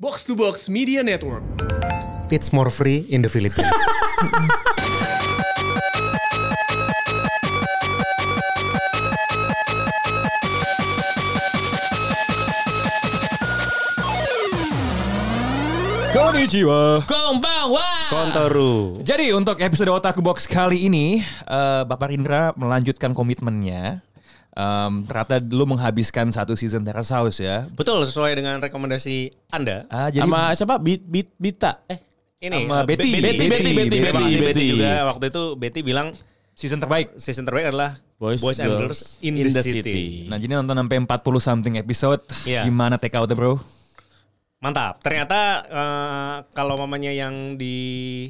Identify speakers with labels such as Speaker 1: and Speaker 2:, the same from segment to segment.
Speaker 1: Box to Box Media Network.
Speaker 2: It's more free in the Philippines.
Speaker 3: Konnichiwa.
Speaker 2: Kontoru.
Speaker 3: Jadi untuk episode Otaku Box kali ini, eh, Bapak Rindra melanjutkan komitmennya. Em, ternyata lu menghabiskan satu season Terrace House ya.
Speaker 2: Betul sesuai dengan rekomendasi Anda.
Speaker 3: Ah, jadi
Speaker 4: sama siapa? Bit, bit, Bita. Eh,
Speaker 2: Ini
Speaker 3: Sama
Speaker 2: eh,
Speaker 3: Betty.
Speaker 2: Be-
Speaker 3: Betty, Betty, Betty,
Speaker 2: Terima kasih
Speaker 4: Betty.
Speaker 2: Betty juga waktu itu Betty bilang
Speaker 3: season terbaik.
Speaker 2: season terbaik adalah Boys,
Speaker 4: Boys,
Speaker 2: and
Speaker 4: Girls
Speaker 2: Girls in, the, city.
Speaker 3: Nah jadi nonton sampai 40 something episode.
Speaker 2: Iya.
Speaker 3: Gimana take out bro?
Speaker 2: Mantap. Ternyata eh, kalau mamanya yang di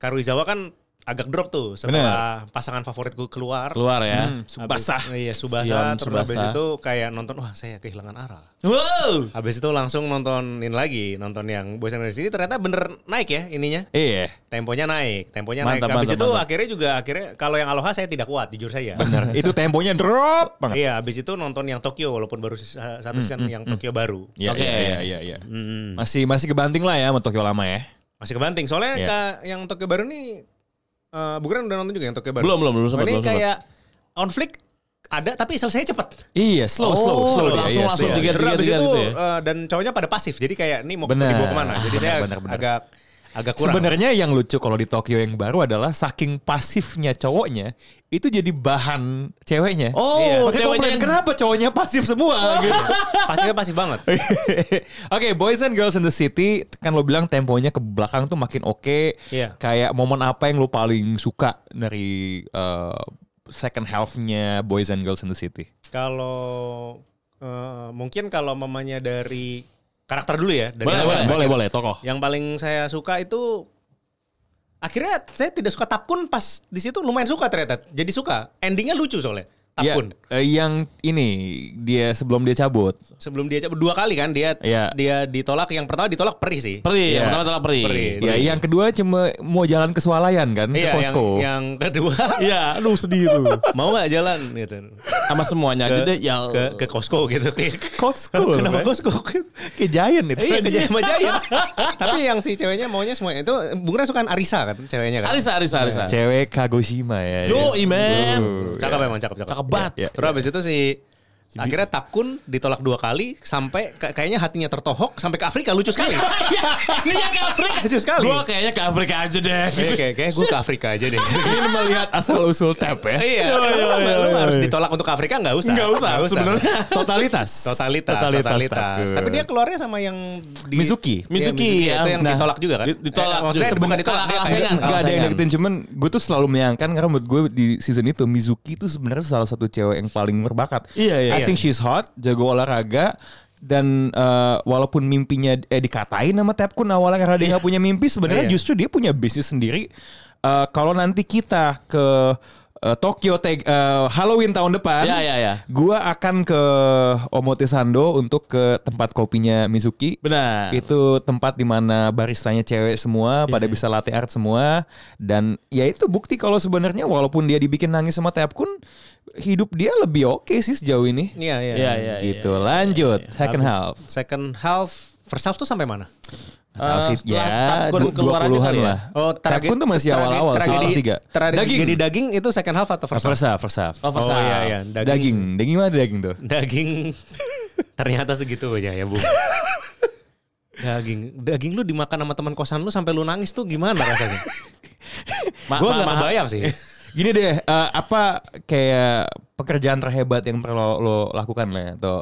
Speaker 2: Karuizawa kan agak drop tuh setelah pasangan favoritku keluar.
Speaker 4: keluar ya.
Speaker 3: Subasa.
Speaker 2: Iya, Subasa
Speaker 4: Sion
Speaker 2: terus
Speaker 4: Tsubasa.
Speaker 2: habis itu kayak nonton wah saya kehilangan arah.
Speaker 3: Wow.
Speaker 2: Habis itu langsung nontonin lagi, nonton yang Boys and Girls in the City ternyata bener naik ya ininya.
Speaker 3: Iya.
Speaker 2: Temponya naik, temponya naik.
Speaker 4: Mantap,
Speaker 2: Habis
Speaker 4: mantap,
Speaker 2: itu
Speaker 4: mantap.
Speaker 2: akhirnya juga akhirnya kalau yang Aloha saya tidak kuat jujur saya.
Speaker 3: Bener. Itu temponya drop banget.
Speaker 2: Iya, habis itu nonton yang Tokyo walaupun baru sisa- satu season
Speaker 4: Hmm,
Speaker 2: yang Tokyo baru.
Speaker 3: Iya,
Speaker 4: Oke.
Speaker 3: iya, iya, iya, iya.
Speaker 2: Mm-mm.
Speaker 3: Masih masih kebanting lah ya sama Tokyo lama ya.
Speaker 2: Masih kebanting. Soalnya
Speaker 3: Iya.
Speaker 2: ka- yang Tokyo baru nih eh bukan udah nonton juga yang Tokyo baru.
Speaker 4: Belum, belum, belum sempat,
Speaker 2: Ini
Speaker 4: belum sempat.
Speaker 2: kayak konflik ada tapi selesai cepet.
Speaker 3: Iya, slow, slow,
Speaker 4: Oh,
Speaker 3: slow. dia,
Speaker 4: langsung-
Speaker 3: iya,
Speaker 4: langsung
Speaker 3: slow.
Speaker 4: tiga-
Speaker 2: Terus
Speaker 4: tiga-
Speaker 2: habis
Speaker 4: tiga
Speaker 2: itu
Speaker 4: gitu ya?
Speaker 2: eh, dan cowoknya pada pasif. Jadi kayak ini mau
Speaker 3: Bener.
Speaker 2: dibawa kemana. Jadi
Speaker 3: Ah,
Speaker 2: saya
Speaker 3: bener, bener,
Speaker 2: agak agak kurang.
Speaker 3: Sebenarnya yang lucu kalau di Tokyo yang baru adalah saking pasifnya cowoknya itu jadi bahan ceweknya.
Speaker 4: Oh,
Speaker 3: Iya. Makanya
Speaker 4: ceweknya
Speaker 3: komplain,
Speaker 4: yang-
Speaker 3: kenapa cowoknya pasif
Speaker 2: Oh.
Speaker 3: semua? gitu.
Speaker 2: pasifnya pasif banget.
Speaker 3: Oke, Boys and Girls in the City kan lo bilang temponya ke belakang tuh makin oke.
Speaker 2: Iya.
Speaker 3: Kayak momen apa yang lo paling suka dari eh, second half-nya Boys and Girls in the City?
Speaker 2: Kalau eh, mungkin kalau mamanya dari karakter dulu ya. Dari
Speaker 4: Boleh,
Speaker 2: awal.
Speaker 4: boleh,
Speaker 3: boleh, boleh, tokoh.
Speaker 2: Yang paling saya suka itu akhirnya saya tidak suka Tapkun pas di situ lumayan suka ternyata. Jadi suka. Endingnya lucu soalnya.
Speaker 4: Iya.
Speaker 3: Ya,
Speaker 2: Tapkun.
Speaker 3: eh, yang ini dia sebelum dia cabut.
Speaker 2: Sebelum dia dua kali kan dia
Speaker 3: Iya.
Speaker 2: dia ditolak. Yang pertama ditolak perih sih.
Speaker 3: Iya.
Speaker 4: Peri, yang pertama adalah peri.
Speaker 2: Peri.
Speaker 3: Ya, yang kedua cuma mau jalan ke swalayan kan,
Speaker 2: Iya, yang,
Speaker 3: ke Costco.
Speaker 2: yang kedua
Speaker 4: Iya, aduh sedih tuh.
Speaker 2: mau nggak jalan gitu
Speaker 4: Sama semuanya aja deh Ya yang
Speaker 2: ke ke Costco gitu.
Speaker 3: Costco.
Speaker 2: Kenapa
Speaker 3: Bang?
Speaker 2: ya, Costco?
Speaker 3: Kayak Giant itu.
Speaker 2: Iya, kerja sama Giant. Tapi yang si ceweknya maunya semuanya itu Bunga suka Arisa kan ceweknya kan.
Speaker 4: Arisa, Arisa, Arisa.
Speaker 3: Cewek Kagoshima ya.
Speaker 4: Yo,
Speaker 3: Iya.
Speaker 4: man.
Speaker 3: Duh,
Speaker 2: Cakep memang cakep cakep.
Speaker 4: Cakep banget.
Speaker 3: Iya, iya.
Speaker 2: Terus habis itu si akhirnya Tapkun ditolak dua kali sampai ka- kayaknya hatinya tertohok sampai ke Afrika lucu sekali.
Speaker 4: Ini
Speaker 2: iya,
Speaker 4: yang ke Afrika.
Speaker 2: Lucu sekali.
Speaker 4: Gue Iya, kayaknya ke Afrika aja deh.
Speaker 2: Kayak kayak, gue ke Afrika aja deh.
Speaker 3: Ini melihat asal usul tap ya.
Speaker 2: iya.
Speaker 4: Iya, iya,
Speaker 2: Lu- lu- Lu
Speaker 4: iya.
Speaker 2: harus ditolak untuk ke Afrika nggak usah.
Speaker 4: Nggak usah, sebenarnya.
Speaker 3: Totalitas.
Speaker 2: Totalitas, totalitas. Tapi dia keluarnya sama yang di
Speaker 3: Mizuki.
Speaker 2: Iya,
Speaker 4: Mizuki, ya.
Speaker 2: itu yang
Speaker 3: Nah,
Speaker 2: ditolak juga kan?
Speaker 4: di- ditolak.
Speaker 2: Eh, maksudnya
Speaker 4: Sebenarnya
Speaker 2: bukan ditolak.
Speaker 4: kalah-
Speaker 2: dia
Speaker 4: kalah
Speaker 2: kayak-
Speaker 4: saingan.
Speaker 3: Gak ada yang
Speaker 4: Alasan.
Speaker 3: deketin cuman gue tuh selalu menyayangkan karena menurut gue di season itu Mizuki itu sebenarnya salah satu cewek yang paling berbakat.
Speaker 4: Iya, iya,
Speaker 3: I
Speaker 4: iya.
Speaker 3: think she's hot, jago olahraga dan eh, walaupun mimpinya eh dikatain sama Tepkun awalnya karena dia nggak punya mimpi sebenarnya
Speaker 2: Iya.
Speaker 3: justru dia punya bisnis sendiri. Eh, kalau nanti kita ke eh, Tokyo Tag- eh, Halloween tahun depan,
Speaker 4: Iya, iya, iya.
Speaker 3: gua akan ke Omotesando untuk ke tempat kopinya Mizuki.
Speaker 4: Benar.
Speaker 3: Itu tempat dimana baristanya cewek semua,
Speaker 4: Iya.
Speaker 3: pada bisa latte art semua, dan ya itu bukti kalau sebenarnya walaupun dia dibikin nangis sama Teapkun, hidup dia lebih oke sih sejauh ini.
Speaker 2: Iya, iya.
Speaker 4: Iya, iya.
Speaker 3: gitu, lanjut second
Speaker 2: Habis
Speaker 3: half.
Speaker 2: Second half. First half tuh sampai mana?
Speaker 3: Half sih,
Speaker 4: Eh, setelah Tapkun
Speaker 3: Ya, du-
Speaker 4: keluar aja
Speaker 3: 20-an
Speaker 4: kali ya?
Speaker 3: lah. Tapkun tuh masih awal-awal, season
Speaker 2: Oh, tragedi,
Speaker 3: tiga.
Speaker 2: tragedi,
Speaker 3: Daging.
Speaker 2: tragedi daging itu second half atau first half?
Speaker 3: First half, first half.
Speaker 4: Oh, first
Speaker 2: Oh,
Speaker 4: half.
Speaker 2: iya, iya.
Speaker 3: Daging. daging, daging mana daging tuh?
Speaker 2: Daging ternyata segitu aja ya bu. Daging, daging lu dimakan sama teman kosan lu sampai lu nangis tuh gimana rasanya?
Speaker 4: Ma-
Speaker 2: Gue
Speaker 4: ma-
Speaker 2: nggak
Speaker 4: ma-
Speaker 2: kebayang sih.
Speaker 3: Gini deh, eh, apa kayak pekerjaan terhebat yang perlu lo, lo lakukan lah atau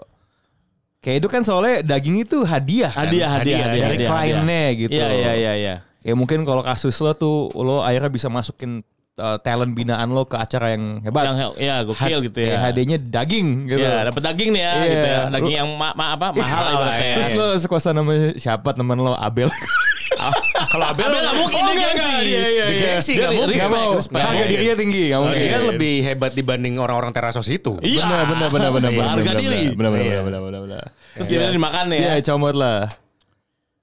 Speaker 3: kayak itu kan soalnya daging itu hadiah kan?
Speaker 4: Hadiah, hadiah, hadiah,
Speaker 3: dari
Speaker 4: hadiah,
Speaker 3: kliennya
Speaker 4: hadiah.
Speaker 3: gitu.
Speaker 4: Iya, iya, iya, iya.
Speaker 3: Ya mungkin kalau kasus lo tuh lo akhirnya bisa masukin eh, talent binaan lo ke acara yang hebat.
Speaker 4: Yang ya gokil gitu ya.
Speaker 3: hadiahnya daging gitu.
Speaker 4: Ya, dapat daging nih ya,
Speaker 3: Iya.
Speaker 4: gitu ya. Daging
Speaker 3: Lu-
Speaker 4: yang ma- ma- apa mahal ibaratnya.
Speaker 3: Terus lo sekosan sama siapa temen lo Abel?
Speaker 2: Kalau Abel,
Speaker 4: Abel nggak mungkin, dia
Speaker 2: Oh, nggak,
Speaker 4: gengsi.
Speaker 2: Iya, iya,
Speaker 4: Dia
Speaker 2: iya.
Speaker 4: gengsi,
Speaker 2: Dia
Speaker 4: nggak
Speaker 2: di-
Speaker 4: mungkin.
Speaker 2: respect,
Speaker 3: Gak mau,
Speaker 2: respect. Iya,
Speaker 3: harga dirinya tinggi gak mungkin.
Speaker 2: Dia kan lebih hebat dibanding orang-orang terasos itu.
Speaker 4: Iya.
Speaker 3: Bener, bener, bener, bener, bener,
Speaker 4: Harga
Speaker 3: bener,
Speaker 4: diri.
Speaker 3: Bener, bener,
Speaker 2: Iya.
Speaker 3: bener, bener, bener, bener.
Speaker 4: Terus dia dimakan ya.
Speaker 3: Iya, comot lah.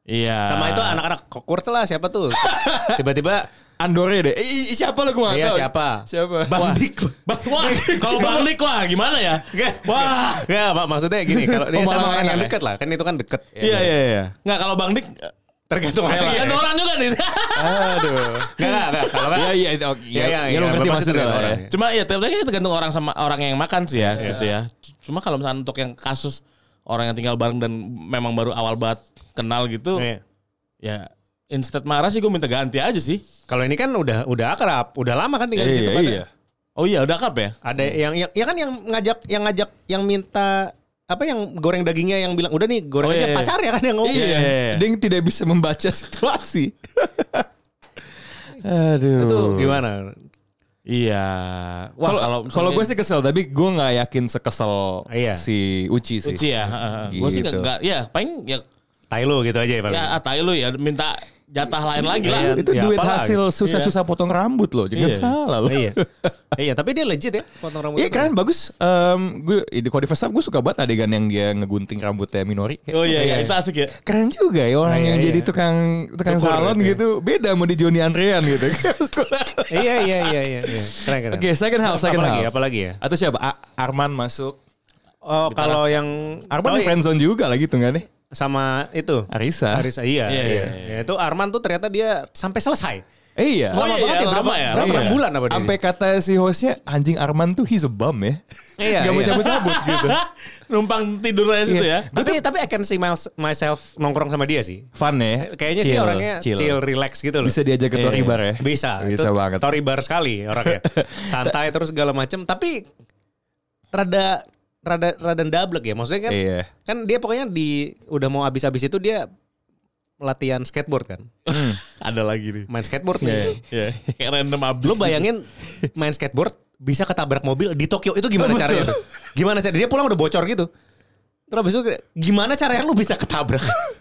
Speaker 4: Iya.
Speaker 2: Sama itu anak-anak kurs lah siapa tuh? Tiba-tiba
Speaker 3: Andore deh. Eh, siapa lo gue nggak
Speaker 2: Iya,
Speaker 3: tahu.
Speaker 2: siapa?
Speaker 3: Siapa?
Speaker 2: Bang Dik. Bang
Speaker 4: Wah, kalau balik wah gimana ya? Wah.
Speaker 2: Enggak, mak- maksudnya gini, kalau dia
Speaker 3: Oh, malah
Speaker 2: sama orang
Speaker 3: enak
Speaker 2: yang
Speaker 3: ya?
Speaker 2: dekat lah, kan itu kan dekat.
Speaker 3: Iya iya iya.
Speaker 4: Nggak kalau Bang Dik
Speaker 2: Tergantung orang.
Speaker 4: kan
Speaker 2: Enggak,
Speaker 4: orang juga nih.
Speaker 3: Iya. Aduh.
Speaker 2: enggak, enggak. Kalau kan
Speaker 3: Iya iya itu, oke.
Speaker 2: Iya, iya,
Speaker 3: Ya, lu
Speaker 2: iya,
Speaker 3: ngerti
Speaker 2: maksudnya
Speaker 3: maksudnya lah ya.
Speaker 2: orang.
Speaker 4: Cuma ya tapi tergantung orang sama orang yang makan sih
Speaker 2: Iya.
Speaker 4: ya gitu ya. C- Cuma kalau misalnya untuk yang kasus orang yang tinggal bareng dan memang baru awal banget kenal gitu
Speaker 2: Iya.
Speaker 4: ya instant marah sih gue minta ganti aja sih.
Speaker 2: Kalau ini kan udah udah akrab, udah lama kan tinggal di situ
Speaker 3: Iya
Speaker 2: kan.
Speaker 3: iya.
Speaker 4: Oh iya udah kap ya.
Speaker 2: Ada yang, yang ya kan yang ngajak yang ngajak yang minta apa yang goreng dagingnya yang bilang udah nih goreng
Speaker 4: Oh,
Speaker 2: aja
Speaker 4: iya, iya.
Speaker 2: pacar ya kan yang ngomong.
Speaker 3: Dia yang tidak bisa membaca situasi. Aduh.
Speaker 2: Itu gimana?
Speaker 4: Iya. Wah kalau
Speaker 3: Kalau kalau gue sih kesel, tapi gue nggak yakin sekesel
Speaker 2: Iya.
Speaker 3: si Uci sih.
Speaker 4: Uci ya. Gue sih
Speaker 3: Gitu.
Speaker 4: enggak ya paling ya
Speaker 2: Tai lu gitu aja ya paling.
Speaker 4: ya atai lu ya minta jatah lain lagi
Speaker 2: Iya.
Speaker 4: lah.
Speaker 3: Ah, Itu
Speaker 2: Ya,
Speaker 3: duit
Speaker 2: apalah
Speaker 3: hasil susah-susah potong rambut loh, jangan
Speaker 4: Iya.
Speaker 3: salah loh.
Speaker 2: iya. iya, tapi dia legit ya potong rambut.
Speaker 3: Iya kan bagus. Em, gue di kalau di first gue suka banget adegan yang dia ngegunting rambutnya Minori. Kayak,
Speaker 4: Oh iya, iya, itu asik ya.
Speaker 3: Keren juga ya orang
Speaker 2: Nah,
Speaker 3: yang
Speaker 2: iya,
Speaker 3: jadi
Speaker 2: iya.
Speaker 3: tukang tukang
Speaker 2: Cukur
Speaker 3: salon
Speaker 2: gitu ya.
Speaker 3: gitu. Beda sama di Joni Andrean gitu.
Speaker 2: iya, iya, iya, iya, iya. Keren, keren.
Speaker 3: Oke, second half, second
Speaker 2: apalagi,
Speaker 3: half.
Speaker 2: Apalagi ya?
Speaker 3: Atau siapa? A- Arman masuk.
Speaker 2: Oh, kalau yang oh,
Speaker 3: Arman di friendzone juga lagi tuh nggak nih?
Speaker 2: sama itu.
Speaker 3: Arisa.
Speaker 2: Aris iya,
Speaker 4: Iya,
Speaker 2: iya,
Speaker 4: iya,
Speaker 2: Ya, itu Arman tuh ternyata dia sampai selesai.
Speaker 3: Eh, iya.
Speaker 4: Oh, iya,
Speaker 2: banget
Speaker 4: lama
Speaker 2: berapa,
Speaker 4: ya,
Speaker 2: berapa
Speaker 4: lama ya.
Speaker 2: bulan apa dia?
Speaker 3: Sampai kata si hostnya anjing Arman tuh he's a bum ya.
Speaker 2: Iya,
Speaker 3: Gak mau
Speaker 2: iya.
Speaker 3: cabut-cabut gitu.
Speaker 4: Numpang tidurnya situ ya.
Speaker 2: Tapi tapi I can see mys- myself nongkrong sama dia sih.
Speaker 3: Fun ya.
Speaker 2: Kayaknya sih
Speaker 3: Chill,
Speaker 2: orangnya chill. relax gitu loh.
Speaker 3: Bisa diajak ke Tory
Speaker 2: Iya.
Speaker 3: Bar ya?
Speaker 2: Bisa.
Speaker 3: Bisa
Speaker 2: Itu
Speaker 3: banget.
Speaker 2: Tory Bar sekali orangnya. Santai terus segala macam, tapi rada rada rada ndablek ya. Maksudnya kan
Speaker 3: Iya.
Speaker 2: kan dia pokoknya di udah mau habis-habis itu dia latihan skateboard kan.
Speaker 4: Ada lagi nih.
Speaker 2: Main skateboard nih.
Speaker 4: Iya. Kayak random abis. gitu.
Speaker 2: Lu bayangin main skateboard bisa ketabrak mobil di Tokyo itu gimana caranya? tuh? Gimana caranya? Dia pulang udah bocor gitu. Terus habis itu gimana caranya lu bisa ketabrak?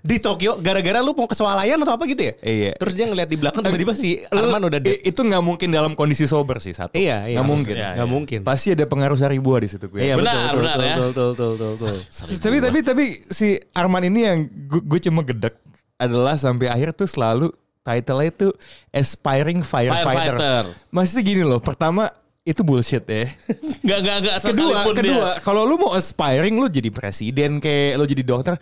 Speaker 2: di Tokyo gara-gara lu mau kesualayan atau apa gitu ya?
Speaker 3: Iya.
Speaker 2: Terus dia ngeliat di belakang tiba-tiba si Arman udah dead.
Speaker 3: I- itu nggak mungkin dalam kondisi sober sih satu.
Speaker 2: Iya, iya.
Speaker 3: Nggak mungkin.
Speaker 4: Iya,
Speaker 2: Nggak mungkin.
Speaker 3: Pasti ada pengaruh Saribua di situ gue.
Speaker 2: Iya,
Speaker 4: Benar, benar ya.
Speaker 2: Betul, betul, betul, betul.
Speaker 3: Tapi tapi tapi si Arman ini yang gue, gue cuma gedek adalah sampai akhir tuh selalu title-nya itu aspiring firefighter.
Speaker 4: Firefighter.
Speaker 3: Maksudnya gini loh, pertama itu bullshit ya.
Speaker 4: Gak, gak, gak.
Speaker 3: kedua,
Speaker 4: sekalipun dia.
Speaker 3: kedua, kalau lu mau aspiring lu jadi presiden kayak lu jadi dokter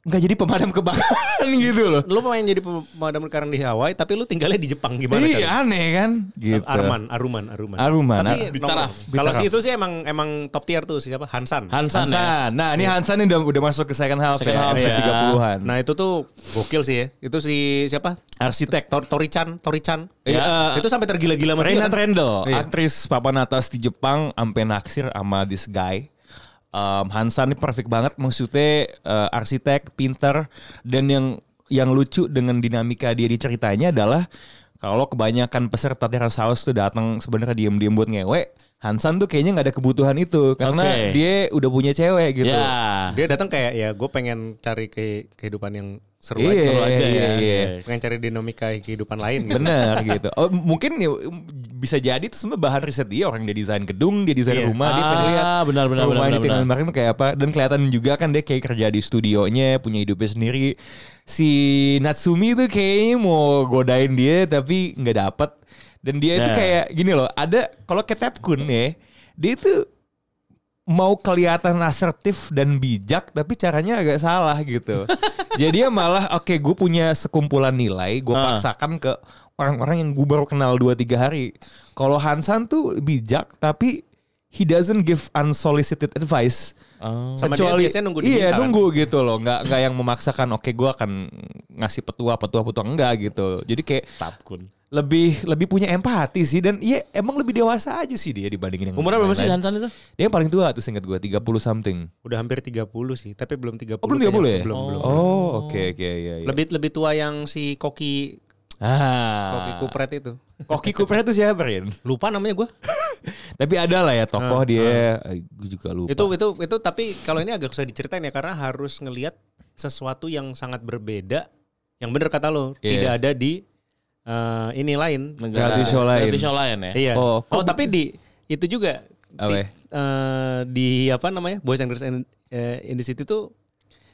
Speaker 3: nggak jadi pemadam kebakaran gitu loh.
Speaker 2: Lu pengen jadi pemadam kebakaran di Hawaii tapi lu tinggalnya di Jepang gimana
Speaker 3: Iya
Speaker 2: caranya?
Speaker 3: aneh kan gitu.
Speaker 2: Arman, Aruman, Aruman.
Speaker 3: Aruman, Ar-
Speaker 2: Tapi
Speaker 4: Bitaraf,
Speaker 2: nongkrong. Kalau
Speaker 3: Bitaraf.
Speaker 2: si itu sih emang emang top tier tuh siapa? Hansan.
Speaker 4: Hansan, ya.
Speaker 3: Hansan. Nah, ini Hansan ini udah, udah masuk ke second half
Speaker 4: Second
Speaker 3: ya,
Speaker 4: half,
Speaker 3: episode
Speaker 4: ya.
Speaker 3: 30-an.
Speaker 2: Nah itu tuh gokil sih ya. Itu si siapa?
Speaker 3: Arsitek.
Speaker 2: Tor Torichan, Torichan. Eh,
Speaker 3: Iya.
Speaker 2: itu sampai tergila-gila sama dia,
Speaker 3: Reina
Speaker 2: kan?
Speaker 3: Trendel,
Speaker 2: Iya.
Speaker 3: aktris papan atas di Jepang, ampe naksir sama this guy. Um, Hansan ini perfect banget, maksudnya uh, arsitek, pinter, dan yang yang lucu dengan dinamika dia di ceritanya adalah kalau kebanyakan peserta Terrace House tuh datang sebenarnya diem-diem buat ngewe, Hansan tuh kayaknya nggak ada kebutuhan itu karena
Speaker 4: Oke.
Speaker 3: dia udah punya cewek gitu.
Speaker 4: Ya.
Speaker 2: Dia datang kayak ya gue pengen cari ke kehidupan yang seru
Speaker 3: Iya,
Speaker 2: aja, seru aja
Speaker 3: iya,
Speaker 2: ya.
Speaker 3: iya.
Speaker 2: Pengen cari dinamika kehidupan lain gitu.
Speaker 3: Bener gitu. Oh, mungkin ya, bisa jadi itu semua bahan riset dia orang dia desain gedung, dia desain
Speaker 2: Iya.
Speaker 3: rumah, dia pengen
Speaker 4: Ah,
Speaker 3: lihat
Speaker 4: benar, benar,
Speaker 3: rumah
Speaker 4: benar,
Speaker 3: yang
Speaker 4: benar,
Speaker 3: ditinggalin kemarin tuh kayak apa dan kelihatan juga kan dia kayak kerja di studionya, punya hidupnya sendiri. Si Natsumi tuh kayaknya mau godain dia tapi nggak dapet. Dan dia itu
Speaker 4: Nah.
Speaker 3: kayak gini loh, ada kalau kayak Kun ya, dia itu mau kelihatan asertif dan bijak tapi caranya agak salah gitu. Jadi dia malah oke gue punya sekumpulan nilai gue
Speaker 4: Ah.
Speaker 3: paksakan ke orang-orang yang gue baru kenal 2-3 hari. Kalau Hansan tuh bijak tapi he doesn't give unsolicited advice.
Speaker 4: Oh.
Speaker 2: Sama dia biasanya nunggu diminta,
Speaker 3: iya
Speaker 2: kan?
Speaker 3: nunggu gitu loh nggak nggak yang memaksakan oke gue akan ngasih petua petua petua enggak gitu jadi kayak
Speaker 4: Tapkun.
Speaker 3: lebih lebih punya empati sih dan iya emang lebih dewasa aja sih dia dibandingin yang
Speaker 4: Umurnya berapa sih
Speaker 3: lain-lain.
Speaker 4: Hansan itu?
Speaker 3: Dia yang paling tua tuh singkat gue 30 something.
Speaker 2: Udah hampir 30 sih, tapi belum 30.
Speaker 3: Oh, belum 30
Speaker 2: kayaknya.
Speaker 3: ya?
Speaker 2: Belum, belum.
Speaker 3: Oh, oke oke iya iya.
Speaker 2: Lebih lebih tua yang si Koki Koki
Speaker 3: ah.
Speaker 2: Kupret itu.
Speaker 3: Koki Kupret itu siapa Rin?
Speaker 2: Lupa namanya gue.
Speaker 3: Tapi ada lah ya tokoh dia, gue juga lupa.
Speaker 2: Ah, Itu itu itu tapi kalau ini agak susah diceritain ya karena harus ngelihat sesuatu yang sangat berbeda yang bener kata lo
Speaker 3: Iya.
Speaker 2: tidak ada di eh, ini lain
Speaker 3: Reality show lain.
Speaker 4: Reality show lain ya.
Speaker 2: Iya. Oh,
Speaker 3: Oh, kok-
Speaker 2: tapi di itu juga di,
Speaker 3: Apa ya?
Speaker 2: eh, di apa namanya Boys and Girls in, eh, in the City tuh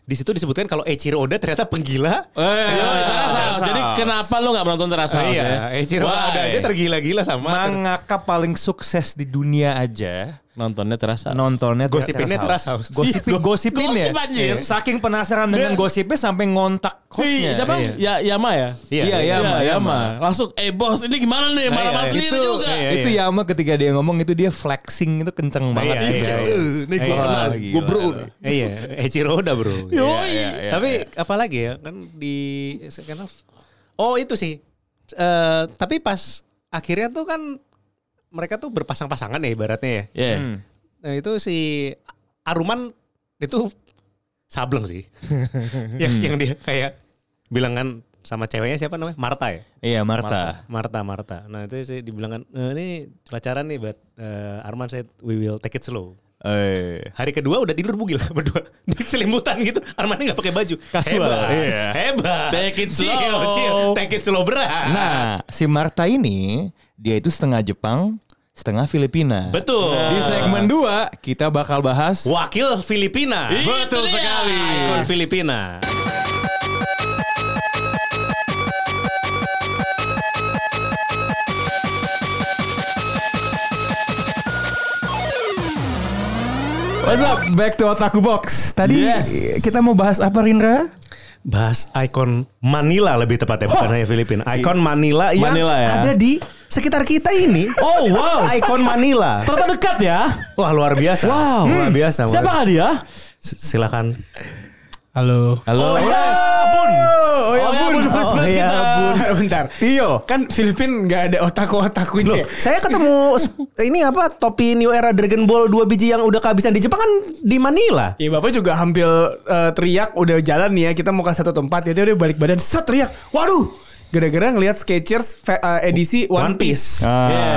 Speaker 2: di situ disebutkan kalau Eiichiro Oda ternyata penggila.
Speaker 3: Eh, Oh,
Speaker 4: Yo, Terasal. iya, Jadi kenapa lu gak menonton ya? Terasal?
Speaker 2: iya, Eiichiro Oda aja tergila-gila sama
Speaker 3: Mangaka paling sukses di dunia aja
Speaker 4: Nontonnya Terasal.
Speaker 3: nontonnya
Speaker 2: Gosipinnya Terrace House. Iya,
Speaker 3: Gosip, gosipin ya.
Speaker 4: Gosip, anjir.
Speaker 3: Iya. Saking penasaran dengan gosipnya sampai ngontak
Speaker 4: Si,
Speaker 3: hostnya.
Speaker 4: siapa?
Speaker 3: Iya.
Speaker 4: Ya, Yama ya?
Speaker 2: Iya,
Speaker 4: iya,
Speaker 3: iya,
Speaker 4: Yama,
Speaker 3: Yama.
Speaker 4: Yama. Langsung, eh bos ini gimana nih?
Speaker 2: iya.
Speaker 4: Marah-marah sendiri
Speaker 2: Itu-
Speaker 4: juga.
Speaker 2: iya,
Speaker 3: Itu Yama ketika dia ngomong itu dia flexing itu kenceng banget.
Speaker 2: Iya, iya, iya.
Speaker 1: Nih gue
Speaker 3: Iya,
Speaker 1: kenal,
Speaker 3: gila.
Speaker 1: gue bro. nih.
Speaker 2: Iya, Eiichiro Oda, Bro. Iya.
Speaker 3: iya,
Speaker 2: tapi apalagi ya kan di kan oh itu sih Eh, tapi pas akhirnya tuh kan mereka tuh berpasang-pasangan ya ibaratnya ya
Speaker 4: Iya.
Speaker 3: Hmm.
Speaker 2: nah itu si Aruman itu sableng sih yang yang dia kayak bilangan sama ceweknya siapa namanya Marta ya
Speaker 3: Iya, Marta.
Speaker 2: Marta Marta nah itu sih dibilangan "Eh, ini pacaran nih buat eh, Arman said we will take it slow
Speaker 3: Eh.
Speaker 2: Hari kedua udah tidur bugil berdua di selimutan gitu. Armani nggak pakai baju.
Speaker 3: Kasual.
Speaker 2: Hebat.
Speaker 3: Iya.
Speaker 2: Hebat.
Speaker 4: Take it slow.
Speaker 2: Chill, chill. Take it slow berat.
Speaker 3: Nah, si Marta ini dia itu setengah Jepang, setengah Filipina.
Speaker 2: betul.
Speaker 3: Di segmen 2 kita bakal bahas
Speaker 2: Wakil Filipina.
Speaker 4: Itu dia.
Speaker 2: Ikon Filipina.
Speaker 5: What's up? Back to Otaku Box. Tadi
Speaker 4: Yes.
Speaker 5: kita mau bahas apa Rindra?
Speaker 2: Bahas ikon Manila lebih tepatnya bukan
Speaker 5: Hah?
Speaker 2: hanya Filipina. Ikon Manila yang
Speaker 4: Manila ya.
Speaker 2: ada di sekitar kita ini.
Speaker 5: Oh wow,
Speaker 2: Ikon Manila.
Speaker 5: ternyata dekat ya.
Speaker 2: Wah luar biasa.
Speaker 5: Wow.
Speaker 2: Oh, Luar
Speaker 5: Hmm.
Speaker 2: biasa.
Speaker 5: Siapakah dia?
Speaker 2: S- Silakan.
Speaker 6: Halo.
Speaker 4: Halo.
Speaker 2: ya
Speaker 5: Bun. Oh ya
Speaker 4: Oh ya,
Speaker 5: Bun,
Speaker 4: Bun, first
Speaker 5: first
Speaker 4: blood
Speaker 5: ya,
Speaker 4: kita.
Speaker 5: Bun. Bentar.
Speaker 6: Tio, iya, kan Filipin nggak ada otaku-otakunya.
Speaker 5: Saya ketemu
Speaker 2: Ini apa topi New Era Dragon Ball dua biji yang udah kehabisan di Jepang kan di Manila.
Speaker 6: Ya bapak juga hampir eh, teriak udah jalan nih ya kita mau ke satu tempat ya dia udah balik badan set teriak waduh gara-gara ngelihat Skechers fe- eh, edisi
Speaker 2: One
Speaker 6: One, Piece.
Speaker 2: Piece. Iya.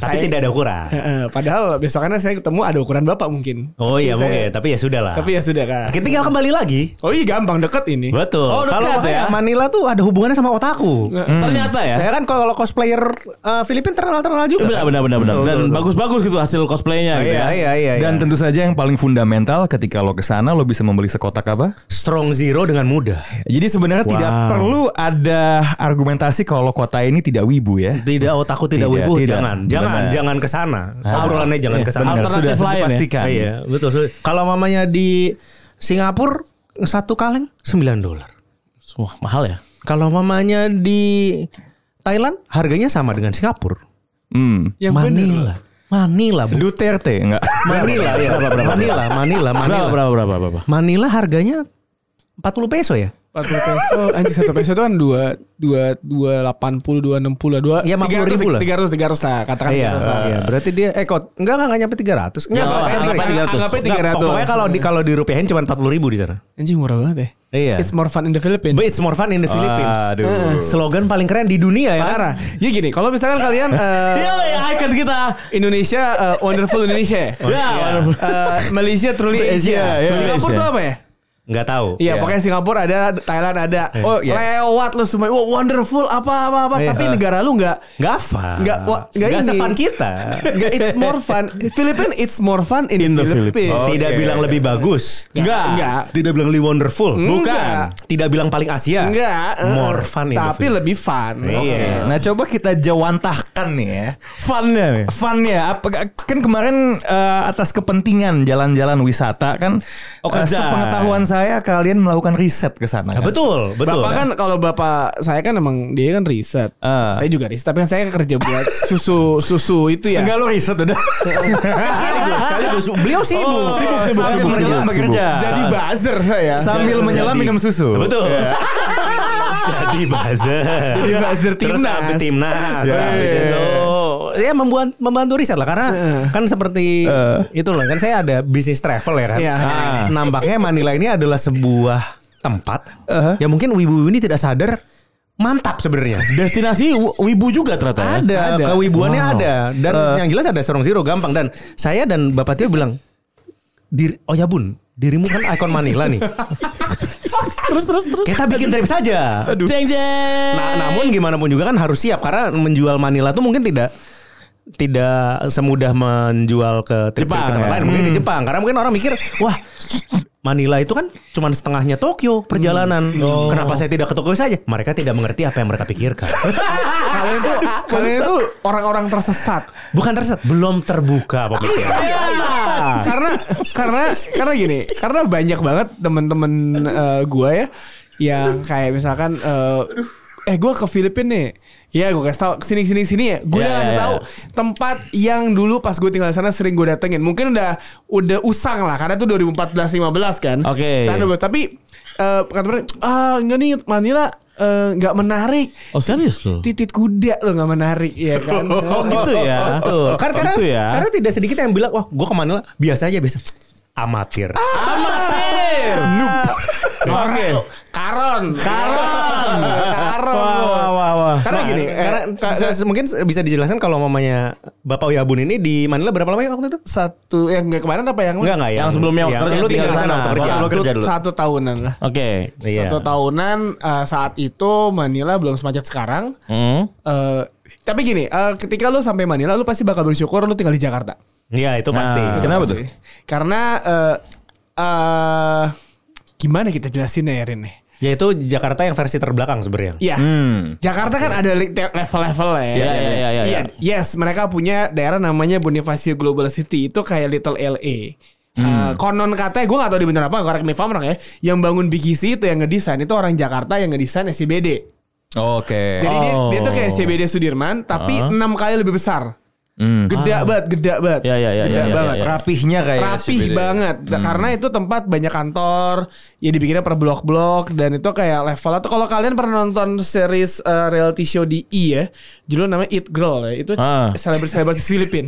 Speaker 2: Tapi
Speaker 6: Saya-
Speaker 2: tidak ada ukuran.
Speaker 6: Eh, eh, padahal besokannya saya ketemu ada ukuran bapak mungkin.
Speaker 2: Oh iya
Speaker 6: Saya-
Speaker 2: mungkin, tapi ya sudah lah.
Speaker 6: Tapi ya sudah kan.
Speaker 2: kita tinggal kembali lagi.
Speaker 6: Oh iya gampang deket ini.
Speaker 2: Betul.
Speaker 4: Oh, dekat
Speaker 2: kalau makanya
Speaker 4: ya.
Speaker 2: Manila tuh ada hubungannya sama otaku.
Speaker 4: Ternyata ya.
Speaker 2: Saya kan kalau cosplayer eh, Filipina terkenal-terkenal juga.
Speaker 4: Benar, benar, benar, benar. Dan bagus-bagus gitu hasil cosplaynya gitu ya.
Speaker 6: iya iya.
Speaker 3: dan tentu saja yang paling fundamental ketika lo kesana lo bisa membeli sekotak apa?
Speaker 2: Strong Zero dengan mudah.
Speaker 3: Jadi sebenarnya tidak perlu ada argumentasi kalau kota ini tidak wibu ya.
Speaker 2: Tidak otaku tidak,
Speaker 3: Tidak,
Speaker 2: wibu,
Speaker 3: tidak.
Speaker 2: jangan. Jangan
Speaker 3: Benar.
Speaker 2: jangan ke sana. Obrolannya jangan ke sana.
Speaker 3: Benar, sudah,
Speaker 4: Alternatif
Speaker 3: sudah
Speaker 4: lain ya?
Speaker 3: dipastikan.
Speaker 2: Iya, betul. sudah. Kalau mamanya di Singapura satu kaleng 9 dolar.
Speaker 4: Wah, mahal ya.
Speaker 2: Kalau mamanya di Thailand harganya sama dengan Singapura.
Speaker 3: Hmm.
Speaker 6: Yang bener
Speaker 2: Manila. Manila, Bu.
Speaker 3: Duterte enggak?
Speaker 2: Manila ya. Manila, Manila, Manila.
Speaker 4: Berapa, berapa, berapa?
Speaker 2: Manila harganya 40 peso ya?
Speaker 6: 40 peso anjing satu peso itu kan dua dua dua delapan puluh dua enam puluh dua
Speaker 2: Iya, 40 ribu lah.
Speaker 6: tiga ratus tiga ratus ah. lah katakan
Speaker 2: iya, iya. Berarti dia eh kok enggak enggak, enggak nyampe 300. Enggak,
Speaker 4: apa-apa,
Speaker 2: sorry, sorry.
Speaker 4: anggapnya 300.
Speaker 6: Anggapnya
Speaker 2: Enggak,
Speaker 6: 300.
Speaker 2: Pokoknya kalau di kalau dirupiahin cuma 40 ribu di sana.
Speaker 6: anjing murah banget ya
Speaker 2: Iya.
Speaker 6: it's more fun in the Philippines
Speaker 2: But it's more fun in the Philippines.
Speaker 3: Aduh.
Speaker 2: Eh, Slogan paling keren di dunia ya. kan?
Speaker 6: Ah, parah ya gini kalau misalkan kalian eh,
Speaker 2: Iya,
Speaker 4: icon kita.
Speaker 6: Indonesia eh, wonderful Indonesia
Speaker 2: Oh,
Speaker 6: ya
Speaker 2: iya.
Speaker 4: Ya, wonderful.
Speaker 6: Eh, Malaysia truly
Speaker 3: Asia,
Speaker 6: Asia,
Speaker 3: ya,
Speaker 6: Singapura
Speaker 3: Asia.
Speaker 6: tuh apa ya
Speaker 2: Enggak tahu.
Speaker 6: Iya, pokoknya Singapura ada, Thailand ada.
Speaker 3: Oh, iya.
Speaker 6: Lewat lu semua. Wah, wonderful apa apa apa.
Speaker 2: Eh. Iya.
Speaker 6: Tapi negara lu nggak
Speaker 2: Enggak fun.
Speaker 6: Nggak, wah, nggak ini.
Speaker 2: se-fun kita.
Speaker 6: nggak it's more fun. Philippine it's more fun in, the Philippines. Oh, iya,
Speaker 2: Tidak bilang lebih bagus.
Speaker 6: Enggak. Enggak.
Speaker 2: Tidak bilang lebih wonderful.
Speaker 6: Enggak.
Speaker 2: Bukan. Tidak bilang paling Asia.
Speaker 6: Enggak. eh.
Speaker 2: More fun in the
Speaker 6: Tapi
Speaker 2: Philippines.
Speaker 6: lebih fun.
Speaker 2: Iya.
Speaker 3: Nah coba kita jawantahkan nih ya Funnya nih Funnya apa, Kan kemarin eh, atas kepentingan jalan-jalan wisata kan oh,
Speaker 2: kerja.
Speaker 3: Sepengetahuan saya kalian melakukan riset ke sana
Speaker 2: Nah,
Speaker 3: kan?
Speaker 2: betul, betul.
Speaker 6: Bapak kan kalau bapak saya kan emang dia kan riset.
Speaker 3: Ah.
Speaker 6: Saya juga riset, tapi kan saya kerja buat susu susu itu ya.
Speaker 3: Enggak lo riset udah
Speaker 2: sekaligus, sekaligus. Beliau sibuk,
Speaker 3: Oh,
Speaker 2: sibuk,
Speaker 3: sambil
Speaker 2: sibuk, sibuk,
Speaker 3: menyelam
Speaker 2: sibuk,
Speaker 3: bekerja.
Speaker 2: sibuk.
Speaker 6: Jadi buzzer saya.
Speaker 3: Sambil
Speaker 6: Jadi-
Speaker 3: menyelam minum susu
Speaker 2: Betul. Jadi buzzer.
Speaker 6: Jadi buzzer
Speaker 2: Terus
Speaker 6: timnas.
Speaker 2: sampai timnas.
Speaker 6: Iya.
Speaker 2: Habis itu. Ya membuat membantu riset lah karena kan seperti itu loh kan saya ada bisnis travel ya kan.
Speaker 6: Iya.
Speaker 2: Ah. Nampaknya Manila ini adalah sebuah tempat
Speaker 6: Eh.
Speaker 2: yang mungkin wibu ini tidak sadar mantap sebenarnya.
Speaker 4: Destinasi w- wibu juga ternyata. ya?
Speaker 2: Ada,
Speaker 6: Ada.
Speaker 2: kewibuannya
Speaker 3: Wow.
Speaker 2: ada dan yang jelas ada Serong Zero gampang dan saya dan Bapak Tio bilang Dir, oh ya bun, dirimu kan ikon Manila nih.
Speaker 4: Terus, terus, terus.
Speaker 2: Kita bikin trip saja.
Speaker 4: Jeng jeng.
Speaker 2: Nah, namun gimana pun juga kan harus siap karena menjual Manila tuh mungkin tidak tidak semudah menjual ke trip ke
Speaker 4: Jepang,
Speaker 2: tempat
Speaker 4: ya?
Speaker 2: lain mungkin ke Jepang karena mungkin orang mikir wah
Speaker 7: Manila itu kan cuman setengahnya Tokyo perjalanan. Kenapa saya tidak ke Tokyo saja? Mereka tidak mengerti apa yang mereka pikirkan.
Speaker 6: kalian tuh kalian tuh orang-orang tersesat
Speaker 7: Bukan tersesat, belum terbuka pemikiran.
Speaker 6: Iya. karena karena karena gini karena banyak banget temen-temen eh, gua ya yang kayak misalkan eh, eh gua ke Filipina nih ya gua kasih tau sini sini sini ya gua
Speaker 3: Ya,
Speaker 6: udah kasih
Speaker 3: ya,
Speaker 6: tahu
Speaker 3: ya.
Speaker 6: tempat yang dulu pas gue tinggal di sana sering gue datengin mungkin udah udah usang lah karena itu 2014-15 kan
Speaker 3: Oke.
Speaker 6: Sana udah- tapi eh kata mereka ah enggak nih Manila eh, nggak menarik
Speaker 3: Oh serius lu?
Speaker 6: titit kuda lo nggak menarik ya kan
Speaker 3: Oh gitu ya.
Speaker 7: Betul.
Speaker 2: oh,
Speaker 7: Kan karena,
Speaker 3: Gitu ya.
Speaker 7: karena tidak sedikit yang bilang, wah gue ke Manila biasa aja biasa. Amatir.
Speaker 6: eh.
Speaker 3: Oke.
Speaker 6: Karon. Karon. Karon.
Speaker 7: Wah,
Speaker 6: lo.
Speaker 7: wah, wah, wah.
Speaker 6: Karena gini,
Speaker 2: Nah,
Speaker 6: eh,
Speaker 7: Karena
Speaker 6: ta-
Speaker 7: se- se- mungkin bisa dijelaskan kalau mamanya Bapak Uyabun ini di Manila berapa lama ya waktu itu?
Speaker 6: satu yang nggak kemarin apa yang
Speaker 7: Enggak enggak yang,
Speaker 3: Yang sebelumnya waktu
Speaker 7: lu
Speaker 3: kerja
Speaker 7: tinggal
Speaker 3: tinggal
Speaker 7: di sana
Speaker 3: sana.
Speaker 7: waktu kerja.
Speaker 3: Wah.
Speaker 6: satu,
Speaker 3: Lu kerja dulu.
Speaker 6: satu tahunan lah.
Speaker 3: Oke.
Speaker 7: Iya.
Speaker 6: Satu tahunan eh, saat itu Manila belum semacet sekarang.
Speaker 3: Hmm.
Speaker 6: Eh, tapi gini, eh, ketika lu sampai Manila lu pasti bakal bersyukur lu tinggal di Jakarta.
Speaker 7: Iya itu pasti.
Speaker 3: Nah, kenapa tuh?
Speaker 6: Karena eh eh, gimana kita jelasinnya ya Rin nih?
Speaker 7: Ya itu Jakarta yang versi terbelakang sebenarnya.
Speaker 6: Iya.
Speaker 3: Hmm.
Speaker 6: Jakarta kan ada li- te- level-level ya.
Speaker 3: Iya, iya, iya, iya,
Speaker 6: Iya,
Speaker 3: iya.
Speaker 6: Yes, mereka punya daerah namanya Bonifacio Global City itu kayak Little LA. Eh,
Speaker 3: Hmm.
Speaker 6: konon katanya gue gak tau di bener apa Correct me if I'm wrong ya Yang bangun BGC itu yang ngedesain Itu orang Jakarta yang
Speaker 3: Eh.
Speaker 6: ngedesain SCBD
Speaker 3: Oke. Oh.
Speaker 6: Jadi dia, dia tuh kayak SCBD Sudirman Tapi enam kali lebih besar
Speaker 3: Ah. Hmm.
Speaker 6: Geda banget Geda banget
Speaker 3: Ya ya ya
Speaker 6: Geda
Speaker 3: ya. ya,
Speaker 6: banget
Speaker 3: ya. Rapihnya kayak Hmm.
Speaker 6: rapih
Speaker 3: SCBD.
Speaker 6: banget Nah, karena itu tempat banyak kantor ya dibikinnya per blok-blok dan itu kayak levelnya tuh kalau kalian pernah nonton series eh, reality show di I ya judul namanya It Girl ya itu
Speaker 3: Ah. Hmm.
Speaker 6: selebriti selebriti Filipin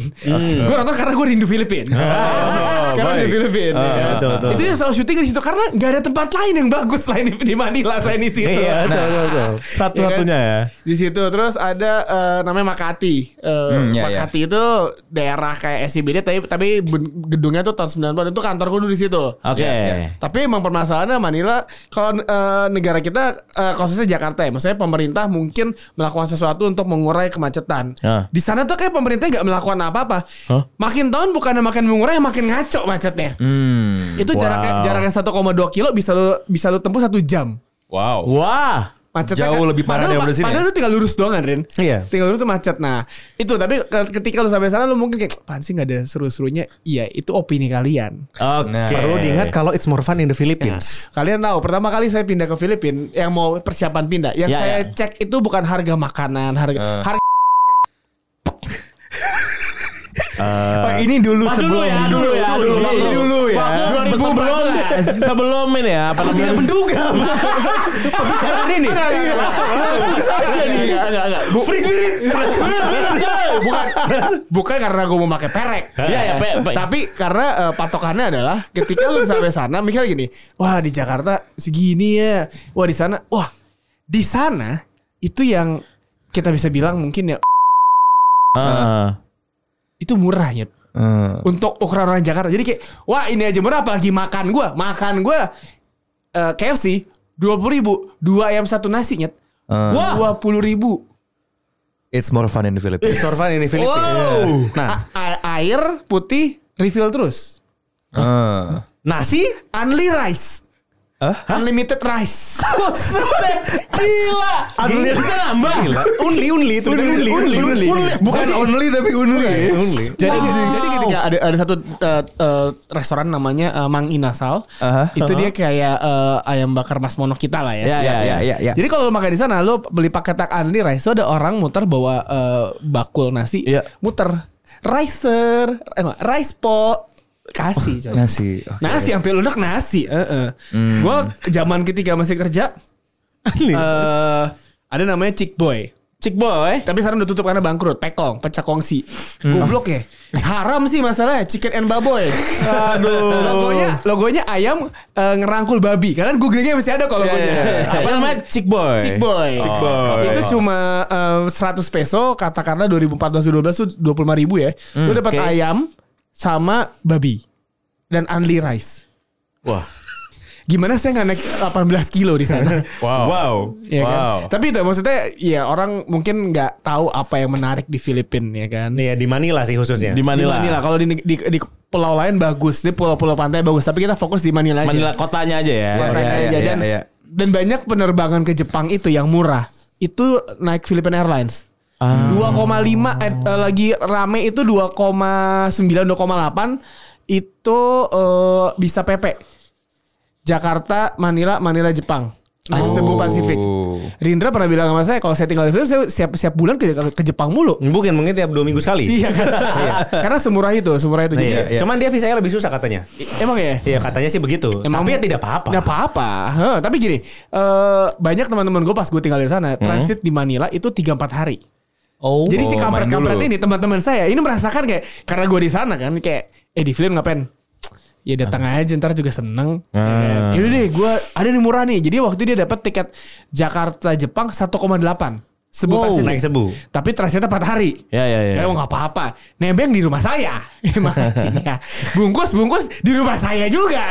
Speaker 6: gue nonton karena gue rindu Filipin karena
Speaker 3: Oh, baik.
Speaker 6: di Filipin ya.
Speaker 3: Ah, betul, betul.
Speaker 6: itu yang selalu syuting di situ karena nggak ada tempat lain yang bagus lain di, di Manila selain di
Speaker 3: Iya,
Speaker 6: situ
Speaker 3: nah.
Speaker 6: Iya.
Speaker 3: Satu-satunya ya.
Speaker 6: kan? di situ terus ada eh, namanya Makati. Eh,
Speaker 3: Hmm, iya, iya.
Speaker 6: Makati itu daerah kayak SCBD tapi tapi ben- gedungnya tuh tahun 90-an itu kantor gue dulu di situ. Iya,
Speaker 3: Oke.
Speaker 6: Tapi emang permasalahannya Manila kalau eh, negara kita eh, khususnya Jakarta ya, maksudnya pemerintah mungkin melakukan sesuatu untuk mengurai kemacetan.
Speaker 3: Ah.
Speaker 6: Di sana tuh kayak pemerintah nggak melakukan apa-apa. Makin tahun bukannya makin mengurai, makin ngaco macetnya.
Speaker 3: Hmm.
Speaker 6: Itu jaraknya jaraknya 1,2 kilo bisa lu bisa lu tempuh satu jam.
Speaker 3: Wow. Wah.
Speaker 6: Macetnya
Speaker 3: Jauh
Speaker 6: kan-
Speaker 3: lebih parah
Speaker 6: padahal-
Speaker 3: daripada sini.
Speaker 6: Padahal
Speaker 3: ya?
Speaker 6: tuh tinggal lurus doang kan, Rin.
Speaker 7: Iya.
Speaker 6: Tinggal lurus tuh macet. Nah, itu tapi ke- ketika lu sampai sana lu mungkin kayak apaan sih nggak ada seru-serunya. Iya, itu opini kalian.
Speaker 3: Nah. Oke.
Speaker 2: Nah.
Speaker 7: Perlu diingat kalau it's more fun in the Philippines.
Speaker 6: Kalian tahu pertama kali saya pindah ke Filipina yang mau persiapan pindah, yang
Speaker 3: Ya,
Speaker 6: saya cek itu bukan harga makanan, harga
Speaker 3: Eh.
Speaker 6: harga
Speaker 5: Oh, ini dulu
Speaker 3: Wah,
Speaker 5: sebelum
Speaker 3: dulu ya, dulu ya, dulu,
Speaker 5: Ini
Speaker 3: dulu.
Speaker 5: dulu ya.
Speaker 3: Waktu sebelum, sebelum ini ya. Aku tidak menduga. Karena ini.
Speaker 6: saja nih.
Speaker 3: Free spirit. Bukan.
Speaker 6: Bukan karena gue mau pakai perek.
Speaker 3: Iya, ya, pe- pe-
Speaker 6: Tapi karena eh, patokannya adalah ketika lu sampai sana, mikir gini, wah di Jakarta segini ya, wah di sana, wah di sana itu yang kita bisa bilang mungkin ya Nah,
Speaker 3: Ah.
Speaker 6: itu murah ya
Speaker 3: Ah.
Speaker 6: untuk ukuran orang Jakarta. Jadi kayak wah ini aja murah apalagi makan gua. Makan gua eh, KFC 20 ribu dua ayam satu nasi nyet. Wah 20 ribu.
Speaker 3: It's more fun in the Philippines. Oh.
Speaker 7: It's more fun in the Philippines.
Speaker 3: iya.
Speaker 6: Wow.
Speaker 7: Nah,
Speaker 6: A- a- air putih refill terus.
Speaker 3: Ah.
Speaker 7: nasi
Speaker 6: Only rice. Unlimited rice.
Speaker 3: Oh,
Speaker 7: Unli Unli unli itu unli unli unli.
Speaker 3: Bukan only tapi only.
Speaker 6: Jadi, jadi ketika ada ada satu eh, eh, restoran namanya eh, Mang Inasal,
Speaker 3: Aha.
Speaker 6: itu dia kayak eh, ayam bakar Mas Mono kita lah ya.
Speaker 3: Ya, ya, ya, ya, ya.
Speaker 6: Jadi kalau lu makan di sana, lu beli paket tak only rice, so ada orang muter bawa eh, bakul nasi,
Speaker 3: Iya.
Speaker 6: muter ricer, eh, enggak, rice po kasih coy.
Speaker 3: Oh, Nasi. Hmm.
Speaker 6: Nasi sampai lunak nasi. Heeh. Gua zaman ketika masih kerja eh, ada namanya Chick Boy.
Speaker 3: Chick boy.
Speaker 6: Tapi sekarang udah tutup karena bangkrut. Pekong, pecah kongsi.
Speaker 3: Hmm.
Speaker 6: Goblok ya. Haram sih masalahnya chicken and baboy. Aduh. Logonya logonya ayam eh, ngerangkul babi. Karena googlingnya masih ada
Speaker 7: Eh,
Speaker 6: kalau logonya.
Speaker 3: Apa namanya? Iya, Chick boy.
Speaker 6: Eh,
Speaker 3: Oh, iya.
Speaker 6: Chick
Speaker 3: Chick
Speaker 6: boy.
Speaker 3: boy.
Speaker 6: Itu cuma eh, 100 peso katakanlah 2014 2012 tuh 25 ribu ya. Lu dapat
Speaker 3: Hmm, oke.
Speaker 6: ayam sama babi dan only rice.
Speaker 3: Wah.
Speaker 6: gimana saya nggak naik 18 kilo di sana
Speaker 3: Wow. Iya
Speaker 7: Wow.
Speaker 6: ya kan?
Speaker 3: Wow.
Speaker 6: Tapi itu maksudnya ya orang mungkin nggak tahu apa yang menarik di Filipina ya kan.
Speaker 7: Iya di Manila sih khususnya.
Speaker 3: Di
Speaker 6: Di
Speaker 3: Manila.
Speaker 6: Manila kalau di, di, di pulau lain bagus, di pulau-pulau pantai bagus, tapi kita fokus di Manila aja.
Speaker 3: Manila kotanya aja ya.
Speaker 6: Buat
Speaker 3: Iya,
Speaker 6: naik
Speaker 3: iya,
Speaker 6: aja.
Speaker 3: iya,
Speaker 6: dan,
Speaker 3: iya.
Speaker 6: dan banyak penerbangan ke Jepang itu yang murah. Itu naik Philippine Airlines.
Speaker 3: Ah.
Speaker 6: 2,5 eh, eh, lagi rame itu 2,9 2,8 itu eh, bisa PP. Jakarta, Manila, Manila, Jepang.
Speaker 3: Oh.
Speaker 6: Naik Cebu Pasifik. Rindra pernah bilang sama saya kalau saya tinggal di Filipina saya siap siap bulan ke, ke Jepang mulu.
Speaker 3: Iya.
Speaker 7: Mungkin mungkin tiap dua minggu sekali.
Speaker 6: Iya kan? Karena semurah itu, semurah itu. Jadi,
Speaker 7: Iya, iya. Cuman dia visanya lebih susah katanya.
Speaker 6: Emang ya?
Speaker 7: Iya katanya sih begitu.
Speaker 6: Emang-
Speaker 7: Tapi ya tidak apa-apa.
Speaker 6: Nggak apa-apa. Heh, tapi gini, eh, banyak teman-teman gue pas gue tinggal di sana,
Speaker 7: Mm-hmm.
Speaker 6: transit di Manila itu 3-4 hari.
Speaker 3: Oh.
Speaker 6: Jadi
Speaker 3: Oh,
Speaker 6: si
Speaker 3: main
Speaker 6: kampret-kampret
Speaker 3: dulu.
Speaker 6: ini teman-teman saya ini merasakan kayak karena gue di sana kan kayak eh di film ngapain? Ya datang
Speaker 7: Ah.
Speaker 6: aja ntar juga seneng. Ya kan?
Speaker 3: Ah.
Speaker 6: Yaudah deh gue ada nih murah nih. Jadi waktu dia dapat tiket Jakarta Jepang 1,8 sebu
Speaker 7: Wow,
Speaker 6: Pasifik.
Speaker 7: naik sebu.
Speaker 6: Tapi transitnya 4 hari.
Speaker 3: Ya ya ya.
Speaker 6: Ya mau nggak apa-apa. Nebeng di rumah saya. Maksudnya. Bungkus-bungkus di rumah saya juga.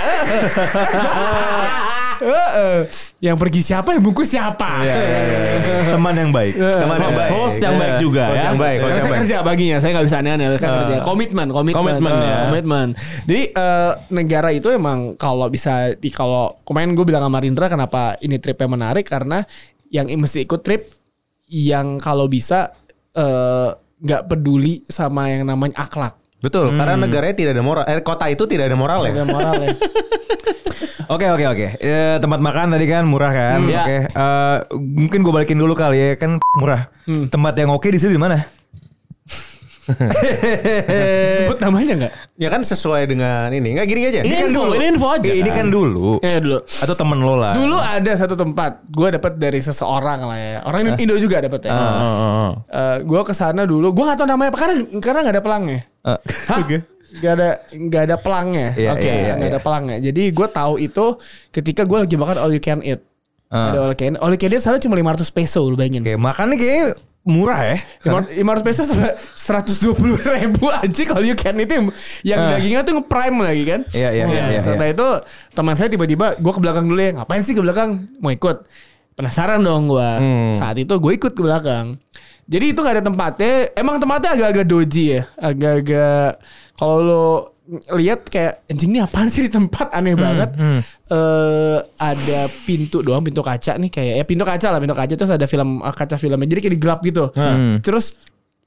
Speaker 3: Eh,
Speaker 6: Heeh. yang pergi siapa yang bungkus siapa.
Speaker 3: Iya, Teman yang baik.
Speaker 2: Iya.
Speaker 3: Teman yang baik. Host yang baik juga
Speaker 7: Host
Speaker 3: ya.
Speaker 7: yang baik, host
Speaker 6: Karena
Speaker 7: yang
Speaker 6: saya kerja baginya, saya nggak bisa aneh-aneh. Saya kerja. Komitmen, komitmen,
Speaker 3: Komitmen,
Speaker 6: Eh,
Speaker 3: ya.
Speaker 6: komitmen. Jadi eh, negara itu emang kalau bisa di kalau kemarin gue bilang sama Rindra kenapa ini tripnya menarik karena yang mesti ikut trip yang kalau bisa eh, nggak peduli sama yang namanya akhlak.
Speaker 2: Betul,
Speaker 3: Hmm.
Speaker 2: karena negaranya tidak ada moral. Eh, kota itu tidak ada moral
Speaker 3: Iya.
Speaker 2: ya.
Speaker 6: Ada moral ya.
Speaker 3: Oke oke oke. Eh, tempat makan tadi kan murah kan.
Speaker 4: Iya.
Speaker 3: Oke. Eh, mungkin gue balikin dulu kali ya kan murah. Tempat yang oke di sini di mana?
Speaker 6: Eh, Sebut namanya nggak?
Speaker 2: Ya kan sesuai dengan ini. Ah. Enggak gini aja.
Speaker 3: Ini kan dulu. Ini info aja. Ini kan dulu.
Speaker 6: Ya dulu.
Speaker 3: Atau temen lo lah.
Speaker 6: Dulu ada satu tempat, gue dapat dari seseorang lah ya. Orang Indo- Indo juga dapat ya.
Speaker 3: Ah, ah, ah.
Speaker 6: Eh, gue kesana dulu, gue nggak tahu namanya apa karena karena nggak ada pelangnya.
Speaker 3: Eh, Hah?
Speaker 6: Gak ada gak ada pelangnya.
Speaker 3: Iya,
Speaker 6: Oke,
Speaker 3: iya, iya,
Speaker 6: gak ada
Speaker 3: iya.
Speaker 6: pelangnya. Jadi gue tahu itu ketika gue lagi makan all you can eat.
Speaker 3: Ah.
Speaker 6: Ada all you can eat. All you can eat sana cuma 500 peso lu bayangin.
Speaker 3: Oke, makannya kayaknya murah ya.
Speaker 6: Lima- 500 peso sama 120 ribu anjing all you can eat yang, yang
Speaker 3: Ah.
Speaker 6: dagingnya tuh nge-prime lagi kan.
Speaker 3: Iya, iya,
Speaker 6: Wah,
Speaker 3: iya, iya,
Speaker 6: Setelah Nah, itu teman saya tiba-tiba gue ke belakang dulu ya. Ngapain sih ke belakang? Mau ikut. Penasaran dong gue.
Speaker 3: Hmm.
Speaker 6: Saat itu gue ikut ke belakang. Jadi itu gak ada tempatnya. Emang tempatnya agak-agak doji ya. Agak-agak kalau lo lihat kayak anjing ini apaan sih di tempat aneh
Speaker 3: Hmm,
Speaker 6: banget. Eh ada pintu doang pintu kaca nih kayak ya pintu kaca lah pintu kaca terus ada film eh, kaca filmnya jadi kayak digelap gitu.
Speaker 3: Hmm.
Speaker 6: Terus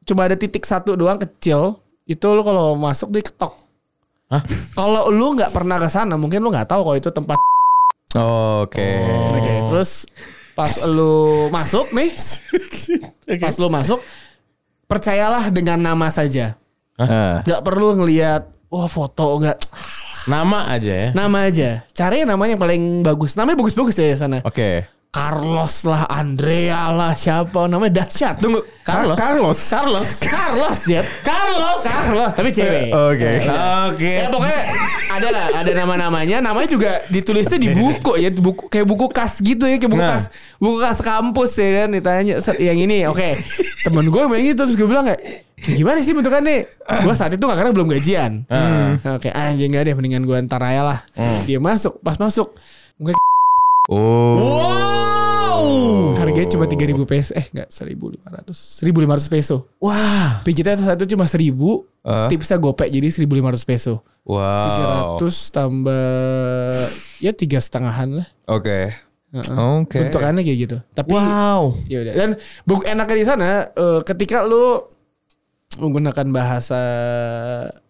Speaker 6: cuma ada titik satu doang kecil. Itu lo kalau masuk diketok. Kalau lu nggak pernah ke sana, mungkin lu nggak tahu kalau itu tempat.
Speaker 3: Oke.
Speaker 6: Oke, Terus pas lu masuk nih, pas lu masuk, percayalah dengan nama saja.
Speaker 3: Ah.
Speaker 6: Nggak perlu ngelihat wah foto nggak
Speaker 2: Ah,
Speaker 4: Nama aja ya.
Speaker 6: nama aja. Cari namanya yang paling bagus. Namanya bagus-bagus ya di sana.
Speaker 3: Oke.
Speaker 6: Carlos lah, Andrea lah, siapa namanya dahsyat.
Speaker 3: Tunggu,
Speaker 6: Carlos.
Speaker 3: Carlos?
Speaker 6: Carlos. Carlos, ya. Carlos. Carlos, tapi cewek.
Speaker 3: Oke.
Speaker 4: Oke.
Speaker 6: Ya pokoknya ada lah, ada nama-namanya. Namanya juga ditulisnya di buku ya, buku kayak buku kas gitu ya, kayak buku
Speaker 3: Nah.
Speaker 6: kas, buku kas kampus ya kan. Ditanya "Set, yang ini, oke. Temen gue main gitu terus gue bilang kayak gimana sih bentukannya? Gue saat itu nggak karena belum gajian. Oke, "Ah, anjing gak deh, mendingan gue antar aja lah. Dia masuk, pas masuk, gue
Speaker 3: Oh.
Speaker 6: harganya cuma 3000 peso eh enggak 1500 1500 peso wah pijitnya satu cuma 1000 tipsnya gopek jadi 1500 peso
Speaker 3: Wow.
Speaker 6: 300 tambah ya tiga setengahan lah
Speaker 3: Oke. Oke.
Speaker 6: bentukannya kayak gitu tapi
Speaker 4: Wow.
Speaker 6: ya udah dan buk enaknya di sana eh, ketika lu menggunakan bahasa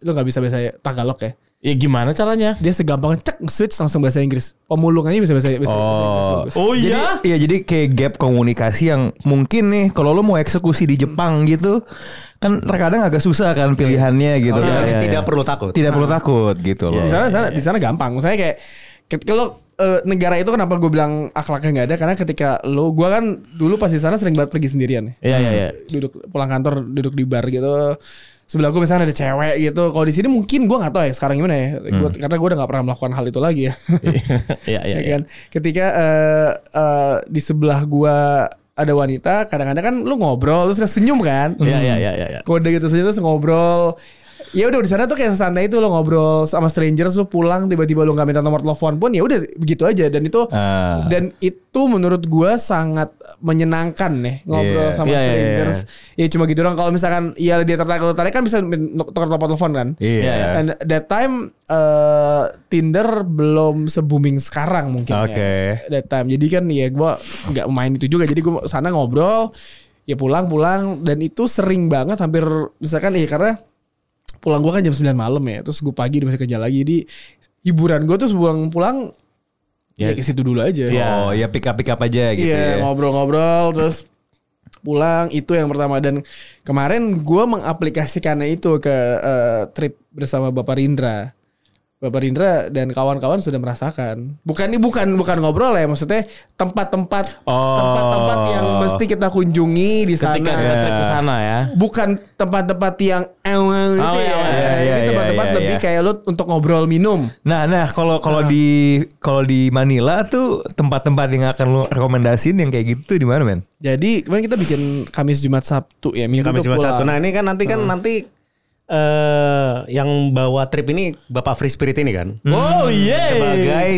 Speaker 6: lu nggak bisa bahasa Tagalog ya
Speaker 4: Ya gimana caranya?
Speaker 6: dia segampang cek switch langsung bahasa Inggris pemulungannya bisa bahasa, bahasa, bahasa Inggris
Speaker 3: Oh.
Speaker 6: bagus.
Speaker 4: Oh iya?
Speaker 3: Jadi, ya jadi kayak gap komunikasi yang mungkin nih kalau lo mau eksekusi di Jepang gitu kan terkadang agak susah kan pilihannya gitu.
Speaker 2: Jadi
Speaker 3: kan. Iya,
Speaker 2: tidak
Speaker 3: iya.
Speaker 2: perlu takut.
Speaker 3: tidak perlu takut gitu loh.
Speaker 6: di sana sana di sana gampang saya kayak ketika lo eh, negara itu kenapa gue bilang akhlaknya nggak ada karena ketika lo gue kan dulu pas di sana sering banget pergi sendirian ya
Speaker 4: Iya iya iya.
Speaker 3: Hmm.
Speaker 6: duduk pulang kantor duduk di bar gitu sebelah gue misalnya ada cewek gitu kalau di sini mungkin gue nggak tahu ya sekarang gimana ya Gua- karena gue udah nggak pernah melakukan hal itu lagi ya
Speaker 4: Hmm. Iya iya.
Speaker 6: ya
Speaker 4: iya.
Speaker 6: kan ketika eh, eh, di sebelah gue ada wanita kadang-kadang kan lu ngobrol terus senyum kan
Speaker 4: Iya iya iya iya. iya.
Speaker 6: kode gitu saja terus ngobrol ya udah di sana tuh kayak santai itu lo ngobrol sama strangers lo pulang tiba-tiba lo nggak minta nomor telepon pun ya udah begitu aja dan itu
Speaker 3: Ah.
Speaker 6: dan itu menurut gua sangat menyenangkan nih ngobrol
Speaker 3: Iya.
Speaker 6: sama
Speaker 3: Iya, iya,
Speaker 6: strangers ya cuma gitu doang kalau misalkan ya dia tertarik lo tertarik kan bisa min- tukar telepon telepon kan
Speaker 3: Iya.
Speaker 6: And that time eh, Tinder belum se booming sekarang mungkin. ya.
Speaker 3: Oke.
Speaker 6: That time. Jadi kan ya gue nggak main itu juga. Jadi gue sana ngobrol, ya pulang-pulang dan itu sering banget hampir misalkan ya karena pulang gue kan jam 9 malam ya. Terus gue pagi udah masih kerja lagi. Jadi hiburan gue tuh pulang pulang ya, ke situ dulu aja.
Speaker 3: Oh, ya pick up pick up aja gitu
Speaker 6: Iya
Speaker 3: ya.
Speaker 6: ngobrol-ngobrol terus pulang itu yang pertama dan kemarin gue mengaplikasikannya itu ke eh, trip bersama Bapak Rindra. Bapak Rindra dan kawan-kawan sudah merasakan. Bukan ini bukan bukan ngobrol ya maksudnya tempat-tempat tempat-tempat yang mesti kita kunjungi di sana.
Speaker 4: Ketika kita trip ke sana ya.
Speaker 6: bukan tempat-tempat yang awal itu
Speaker 4: Awal, iya,
Speaker 6: ya.
Speaker 3: iya,
Speaker 6: ini
Speaker 3: iya,
Speaker 6: tempat-tempat
Speaker 3: iya,
Speaker 6: lebih
Speaker 3: iya.
Speaker 6: kayak lu untuk ngobrol minum.
Speaker 3: Nah, nah kalau kalau di kalau di Manila tuh tempat-tempat yang akan lu rekomendasiin yang kayak gitu tuh di mana, men?
Speaker 6: Jadi kemarin kita bikin Kamis Jumat Sabtu ya minggu
Speaker 7: Kamis
Speaker 6: tuh
Speaker 7: cuma
Speaker 6: pulang.
Speaker 7: satu. Nah ini kan nanti kan nanti eh yang bawa trip ini Bapak Free Spirit ini kan.
Speaker 3: Oh, yeah.
Speaker 7: Sebagai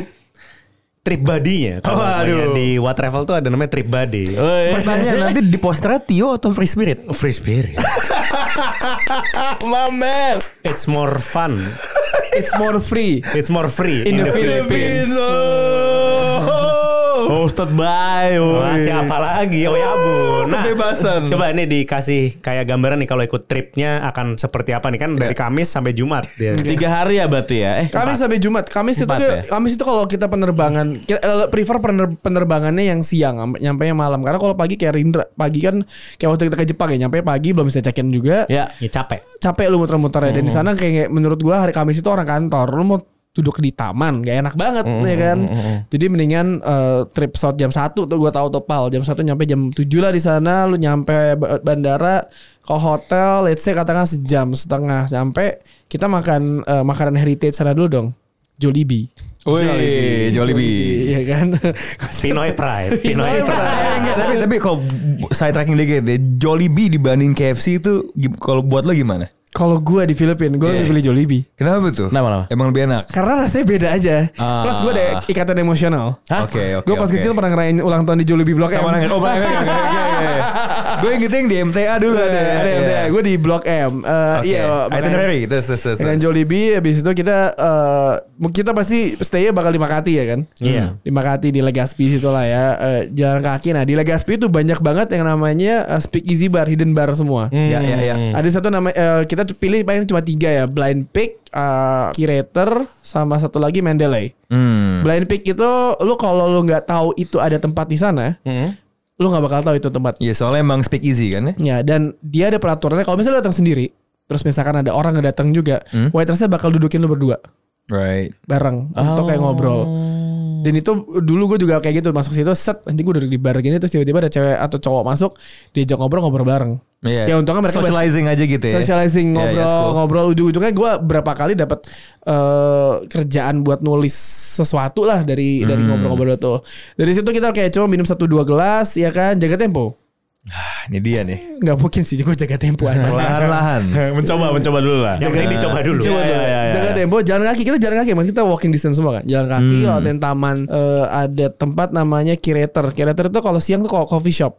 Speaker 7: trip buddy-nya. kalau
Speaker 3: Waduh.
Speaker 7: namanya. Di What Travel tuh ada namanya trip buddy.
Speaker 3: Pertanyaan nanti di posternya Tio atau Free Spirit?
Speaker 7: Oh, iya. Free Spirit.
Speaker 3: Mamer.
Speaker 7: It's more fun.
Speaker 6: It's more free.
Speaker 7: It's more free in, the, Philippines.
Speaker 3: Hosted by
Speaker 7: Wah, siapa lagi? Oh ya bu. Nah,
Speaker 3: kebebasan.
Speaker 7: Coba ini dikasih kayak gambaran nih kalau ikut tripnya akan seperti apa nih kan dari Kamis sampai Jumat. Dia.
Speaker 4: Tiga hari ya berarti ya. Eh,
Speaker 6: Kamis sampai Jumat. Kamis itu
Speaker 4: Empat ya?
Speaker 6: Kamis itu kalau kita penerbangan kita, eh, prefer pener- penerbangannya yang siang am- nyampe yang malam karena kalau pagi kayak Rindra pagi kan kayak waktu kita ke Jepang ya nyampe pagi belum bisa check-in juga.
Speaker 4: ya.
Speaker 7: Ya capek.
Speaker 6: Capek lu muter-muter ya. Dan di sana kayak menurut gua hari Kamis itu orang kantor lu mau duduk di taman gak enak banget ya kan. Jadi mendingan eh, trip pesawat jam 1 tuh gua tahu topal jam 1 nyampe jam 7 lah di sana lu nyampe ba- bandara ke hotel let's say katakan sejam setengah nyampe kita makan eh, makanan heritage sana dulu dong. Jollibee.
Speaker 3: Woi, Jollibee.
Speaker 6: Iya kan.
Speaker 7: Pinoy Pride.
Speaker 2: Nah,
Speaker 7: Pinoy Pride.
Speaker 3: Eh, enggak, tapi tapi kalau side tracking dikit ya, Jollibee dibanding KFC itu gi- kalau buat lo gimana?
Speaker 6: Kalau gue di Filipina, gue lebih pilih Jollibee.
Speaker 3: Kenapa tuh?
Speaker 4: Kenapa, kenapa?
Speaker 3: Emang lebih enak.
Speaker 6: Karena rasanya beda aja.
Speaker 3: Ah.
Speaker 6: Plus gue ada ikatan emosional.
Speaker 3: Oke, oke.
Speaker 6: gue pas
Speaker 3: oke.
Speaker 6: kecil pernah ngerayain ulang tahun di Jollibee Blok M.
Speaker 3: Sama orang- oh, orang- orang- orang- orang- orang. iya. Gue ingetnya yang di MTA dulu Iya, ada. ya.
Speaker 6: Ada, ada, ada. Gue di Blok M. Eh, Iya. makanya-
Speaker 3: Itinerary. Terus, terus, terus.
Speaker 6: Dengan
Speaker 3: terus.
Speaker 6: Jollibee habis itu kita eh, kita pasti stay bakal di Makati ya kan?
Speaker 7: Iya.
Speaker 6: Di Makati di Legazpi situ lah ya. Eh, jalan kaki nah di Legazpi itu banyak banget yang namanya eh, speak easy bar, hidden bar semua.
Speaker 3: Ya, ya, ya.
Speaker 6: Ada satu nama eh, kita pilih paling cuma tiga ya, Blind Pig, eh, Curator, sama satu lagi Mendeley.
Speaker 3: Hmm.
Speaker 6: Blind Pig itu lu kalau lu nggak tahu itu ada tempat di sana,
Speaker 3: Hmm.
Speaker 6: lu nggak bakal tahu itu tempat.
Speaker 3: Ya soalnya emang speak easy kan ya?
Speaker 6: Ya dan dia ada peraturannya kalau misalnya lu datang sendiri, terus misalkan ada orang yang datang juga,
Speaker 3: Hmm.
Speaker 6: waitersnya bakal dudukin lu berdua
Speaker 3: Right.
Speaker 6: bareng untuk kayak
Speaker 3: Oh.
Speaker 6: ngobrol. Dan itu dulu gue juga kayak gitu masuk situ set nanti gue duduk di bar gini terus tiba-tiba ada cewek atau cowok masuk diajak ngobrol ngobrol bareng.
Speaker 3: Iya.
Speaker 6: Ya untungnya mereka bahasa-
Speaker 3: socializing aja gitu ya. Ya,
Speaker 6: socializing
Speaker 3: ya,
Speaker 6: ngobrol
Speaker 3: school.
Speaker 6: ngobrol ujung-ujungnya gue berapa kali dapat eh, kerjaan buat nulis sesuatu lah dari dari ngobrol-ngobrol itu dari situ kita kayak cuma minum satu dua gelas ya kan jaga tempo
Speaker 3: Ah, ini dia nih.
Speaker 6: nggak mungkin sih gue jaga tempo aja
Speaker 3: Iya, Perlahan-lahan.
Speaker 4: mencoba, mencoba dulu lah.
Speaker 7: Yang penting dicoba dulu.
Speaker 2: iya,
Speaker 6: Coba dulu. Jaga tempo, jalan kaki kita jalan kaki, mas kita walking distance semua kan. Jalan kaki, lewatin taman, Eh, ada tempat namanya Curator. Curator itu kalau siang tuh kalau coffee shop.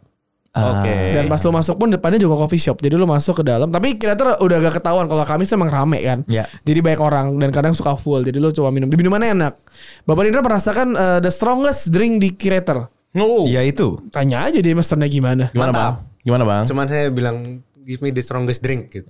Speaker 7: Oke.
Speaker 6: Dan pas lu masuk pun depannya juga coffee shop. Jadi lu masuk ke dalam. Tapi kira-kira udah agak ketahuan kalau kami emang rame kan.
Speaker 3: Ya.
Speaker 6: Jadi banyak orang dan kadang suka full. Jadi lu coba minum. Di minumannya enak. Bapak Indra merasakan eh, the strongest drink di Curator.
Speaker 3: Ya itu.
Speaker 6: Tanya aja dia mesennya gimana.
Speaker 4: Gimana bang? Gimana bang?
Speaker 7: Cuman saya bilang give me the strongest drink gitu.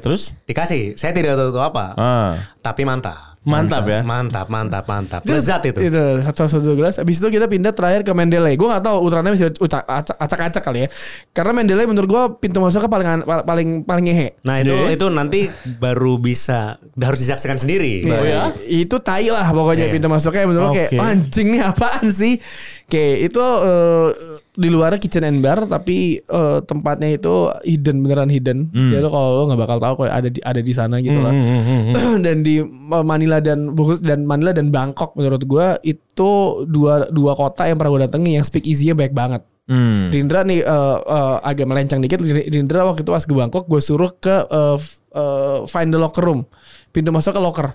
Speaker 3: Iya.
Speaker 4: terus?
Speaker 7: Dikasih. Saya tidak tahu itu apa.
Speaker 4: Ah,
Speaker 7: Tapi mantap.
Speaker 4: Mantap ya.
Speaker 7: Mantap, mantap, mantap. Lezat itu.
Speaker 6: Itu satu satu gelas. Abis itu kita pindah terakhir ke Mendeley. Gue nggak tahu utaranya bisa uca- acak- acak-acak kali ya. Karena Mendeley menurut gue pintu masuknya paling an- pa- paling paling ngehe.
Speaker 7: Nah itu itu nanti baru bisa harus disaksikan sendiri.
Speaker 6: Iya. Itu tai lah pokoknya pintu masuknya menurut lo kayak
Speaker 7: Oke.
Speaker 6: anjing nih apaan sih? Kayak itu eh, di luar kitchen and bar tapi eh, tempatnya itu hidden beneran hidden. Jadi lo kalau lo nggak bakal tahu kalau ada di ada di sana gitu
Speaker 3: Hmm,
Speaker 6: lah. dan di eh, Manila dan Bogor- dan Manila dan Bangkok menurut gua itu dua dua kota yang pernah gue datangi yang speak easy-nya banyak banget.
Speaker 4: Hmm.
Speaker 3: Hmm.
Speaker 6: Rindra nih eh, eh, agak melenceng dikit. Rindra waktu itu pas ke Bangkok, gue suruh ke eh, f- eh, find the locker room, pintu masuk ke locker.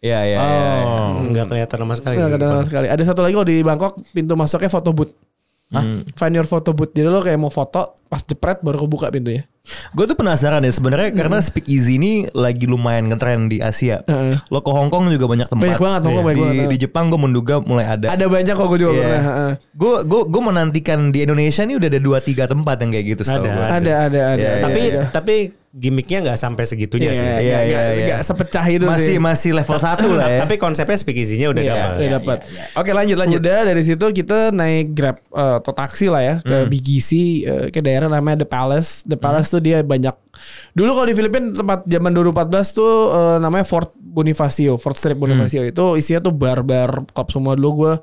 Speaker 3: Iya, iya, iya.
Speaker 4: Oh.
Speaker 7: Enggak kelihatan sama
Speaker 2: Iya,
Speaker 7: sekali.
Speaker 6: Nggak ada sama sekali. Ada satu lagi kalau di Bangkok pintu masuknya foto booth. Find your photo booth. Jadi lo kayak mau foto, pas jepret baru kebuka pintunya.
Speaker 3: Gue tuh penasaran ya sebenarnya karena Speak Easy ini lagi lumayan ngetren di Asia.
Speaker 6: Hmm. Heeh.
Speaker 3: Lo ke Hong Kong juga banyak tempat.
Speaker 6: Banyak banget, Hong Kong
Speaker 3: Iya.
Speaker 6: banyak
Speaker 3: di,
Speaker 6: banget.
Speaker 3: di Jepang gue menduga mulai ada.
Speaker 6: Ada banyak kok gue juga pernah. heeh.
Speaker 3: Gue gue gue menantikan di Indonesia nih udah ada dua tiga tempat yang kayak gitu. setahu
Speaker 7: Ada.
Speaker 3: gua.
Speaker 6: Ada, ada, ada.
Speaker 3: Iya, iya,
Speaker 7: Tapi
Speaker 6: Iya,
Speaker 7: tapi gimmicknya nggak sampai segitunya sih.
Speaker 3: Iya,
Speaker 6: iya, nggak-
Speaker 3: iya, iya.
Speaker 6: nggak sepecah itu
Speaker 3: Masih
Speaker 6: sih.
Speaker 3: masih level satu lah ya.
Speaker 7: Tapi konsepnya speak easy-nya udah
Speaker 3: Iya,
Speaker 7: dapat.
Speaker 6: Udah dapat.
Speaker 3: Oke lanjut lanjut.
Speaker 6: Udah dari situ kita naik Grab eh, atau taksi lah ya ke
Speaker 3: Hmm.
Speaker 6: BGC eh, ke daerah namanya The Palace. The Palace tuh dia banyak. Dulu kalau di Filipina tempat zaman 2014 tuh eh, namanya Fort Bonifacio, Fort Strip Bonifacio
Speaker 3: Hmm.
Speaker 6: itu isinya tuh bar-bar klub semua dulu gue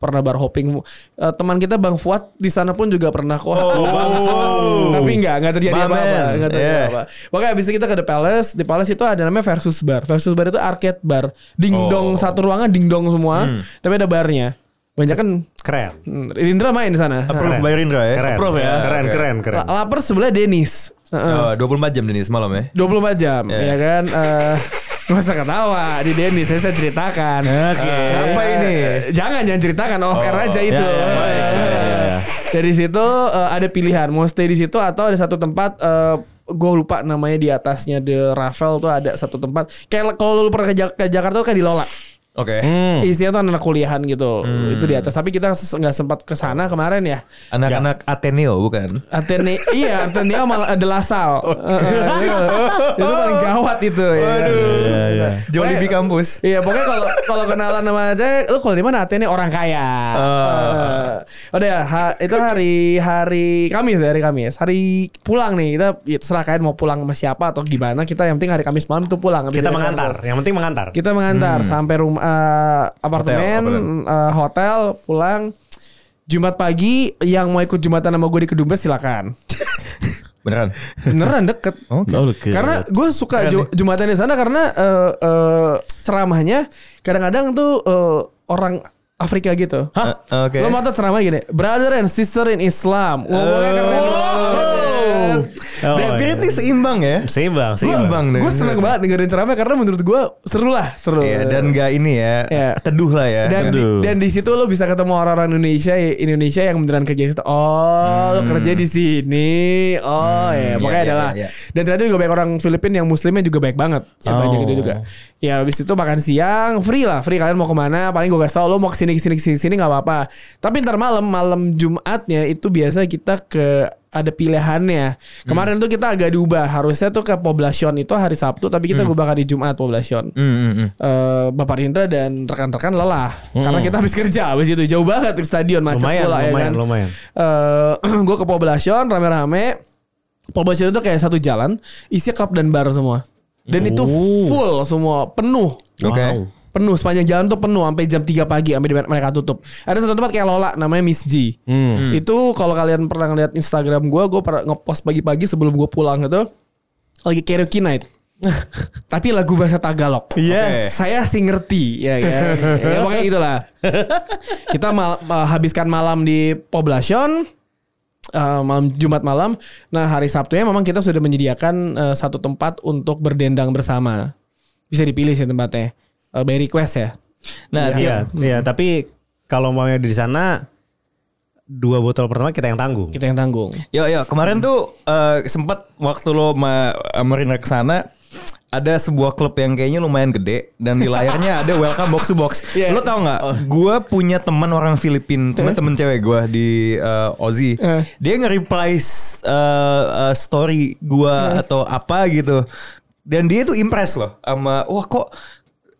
Speaker 6: pernah bar hopping. Eh, teman kita Bang Fuad di sana pun juga pernah kok. Tapi nggak nggak terjadi
Speaker 3: My
Speaker 6: apa-apa,
Speaker 3: man.
Speaker 6: nggak terjadi
Speaker 3: Oh. Yeah.
Speaker 6: apa-apa. Oke, habis itu kita ke The Palace. Di Palace itu ada namanya Versus Bar. Versus Bar itu arcade bar. Ding dong satu ruangan ding dong semua, tapi ada barnya. Banyak kan
Speaker 7: Keren.
Speaker 6: hmm, Rindra main di sana.
Speaker 3: Approve
Speaker 7: Keren.
Speaker 3: by Rindra ya.
Speaker 7: Keren.
Speaker 3: Approve ya.
Speaker 7: Keren, keren, keren.
Speaker 6: La- Lapar sebelah Denis. Heeh.
Speaker 3: Oh, 24 jam ini semalam ya.
Speaker 6: 24 jam ya kan eh Gak usah ketawa di Denis saya, saya ceritakan. Oke.
Speaker 3: Apa ini?
Speaker 6: Jangan jangan ceritakan off air aja itu. Dari situ eh, ada pilihan mau stay di situ atau ada satu tempat eh gue lupa namanya di atasnya The Raffel tuh ada satu tempat kayak kalau lu pernah ke, Jak- ke Jakarta tuh kayak di Lola.
Speaker 3: Oke.
Speaker 6: Isinya tuh anak kuliahan gitu. Itu di atas tapi kita ses- nggak sempat ke sana kemarin ya.
Speaker 3: Anak-anak Ateneo bukan?
Speaker 6: Atene iya Ateneo malah ada Lasal. Eh, eh, itu paling gawat itu. ya.
Speaker 3: Iya, iya. Jolly di
Speaker 6: Pokoknya-
Speaker 3: kampus.
Speaker 6: Iya pokoknya kalau kalau kenalan sama aja, lu kalau di mana Atene orang kaya. Eh, udah ya, ha- itu hari hari Kamis ya, hari Kamis. Hari pulang nih kita ya, terserah kalian mau pulang sama siapa atau gimana. Kita yang penting hari Kamis malam tuh pulang. Habis
Speaker 7: Kita
Speaker 6: dari
Speaker 7: mengantar.
Speaker 6: konser.
Speaker 7: Yang penting mengantar.
Speaker 6: gitu ya, Kita mengantar sampai rumah eh, apartemen, eh,
Speaker 3: apartemen.
Speaker 6: hotel, pulang. Jumat pagi yang mau ikut jumatan sama gue di Kedubes silakan.
Speaker 3: Beneran?
Speaker 6: Beneran deket. Karena gue suka ju- jumatan di sana karena eh, eh, ceramahnya kadang-kadang tuh eh, orang Afrika gitu.
Speaker 3: Hah? Oke.
Speaker 6: Lo mau tau ceramah gini, brother and sister in Islam. Ngomongnya
Speaker 3: Eh, Oh.
Speaker 6: keren banget.
Speaker 7: Oh,
Speaker 3: Black Spirit
Speaker 7: iya.
Speaker 3: nih seimbang ya.
Speaker 7: Seimbang,
Speaker 3: Seimbang
Speaker 7: seimbang.
Speaker 3: deh.
Speaker 6: Gue seneng banget dengerin ceramah karena menurut gue seru lah, seru.
Speaker 3: Iya, dan gak ini ya.
Speaker 6: Iya.
Speaker 3: Teduh lah ya.
Speaker 6: dan di, dan di situ lo bisa ketemu orang-orang Indonesia Indonesia yang beneran kerja di situ. Oh, lo kerja di sini. Oh, ya,
Speaker 3: Iya,
Speaker 6: pokoknya
Speaker 3: iya,
Speaker 6: adalah.
Speaker 3: iya, iya.
Speaker 6: Dan ternyata juga banyak orang Filipina yang muslimnya juga baik banget. Sebanyak itu juga. Ya habis itu makan siang free lah, free kalian mau kemana? Paling gue kasih tau lo mau kesini kesini kesini kesini nggak apa-apa. Tapi ntar malam malam Jumatnya itu biasa kita ke ada pilihannya. Kemarin tuh kita agak diubah. Harusnya tuh ke Poblacion itu hari Sabtu, tapi kita ubah ke hari Jumat
Speaker 3: Hmm,
Speaker 6: Poblacion
Speaker 3: hmm, hmm.
Speaker 6: eh Bapak Rindra dan rekan-rekan lelah karena kita habis kerja habis itu jauh banget ke stadion macet
Speaker 7: Hmm. Lumayan,
Speaker 6: pula ya
Speaker 7: lumayan,
Speaker 6: kan.
Speaker 7: lumayan.
Speaker 6: gue ke Poblacion rame-rame. Poblacion itu kayak satu jalan, isinya klub dan bar semua. Dan itu
Speaker 7: Oh.
Speaker 6: full semua, penuh.
Speaker 3: Oke.
Speaker 6: Penuh sepanjang jalan tuh penuh sampai jam 3 pagi sampai di- mereka tutup. Ada satu tempat kayak Lola namanya Miss G. Itu kalau kalian pernah ngeliat Instagram gue, gue pernah ngepost pagi-pagi sebelum gue pulang gitu lagi karaoke night. Tapi lagu bahasa Tagalog.
Speaker 3: Yes.
Speaker 6: Saya sih ngerti ya kan. ya pokoknya itulah. Kita mal- eh, habiskan malam di Poblacion eh, malam Jumat malam. Nah, hari Sabtunya memang kita sudah menyediakan eh, satu tempat untuk berdendang bersama. Bisa dipilih sih tempatnya. Eh, by request ya.
Speaker 3: Nah,
Speaker 7: Iya, iya, tapi kalau maunya di sana dua botol pertama kita yang tanggung.
Speaker 6: Kita yang tanggung.
Speaker 3: yo yo kemarin tuh eh, sempat waktu lo ma sama Rindra ke sana ada sebuah klub yang kayaknya lumayan gede dan di layarnya ada welcome box to box.
Speaker 6: Iya.
Speaker 3: Lo tau nggak? Gue punya teman orang Filipin, teman-teman cewek gue di eh, Aussie.
Speaker 6: Eh.
Speaker 3: Dia nge-reply s- eh, eh, story gue
Speaker 6: Eh.
Speaker 3: atau apa gitu. Dan dia tuh impress loh sama wah kok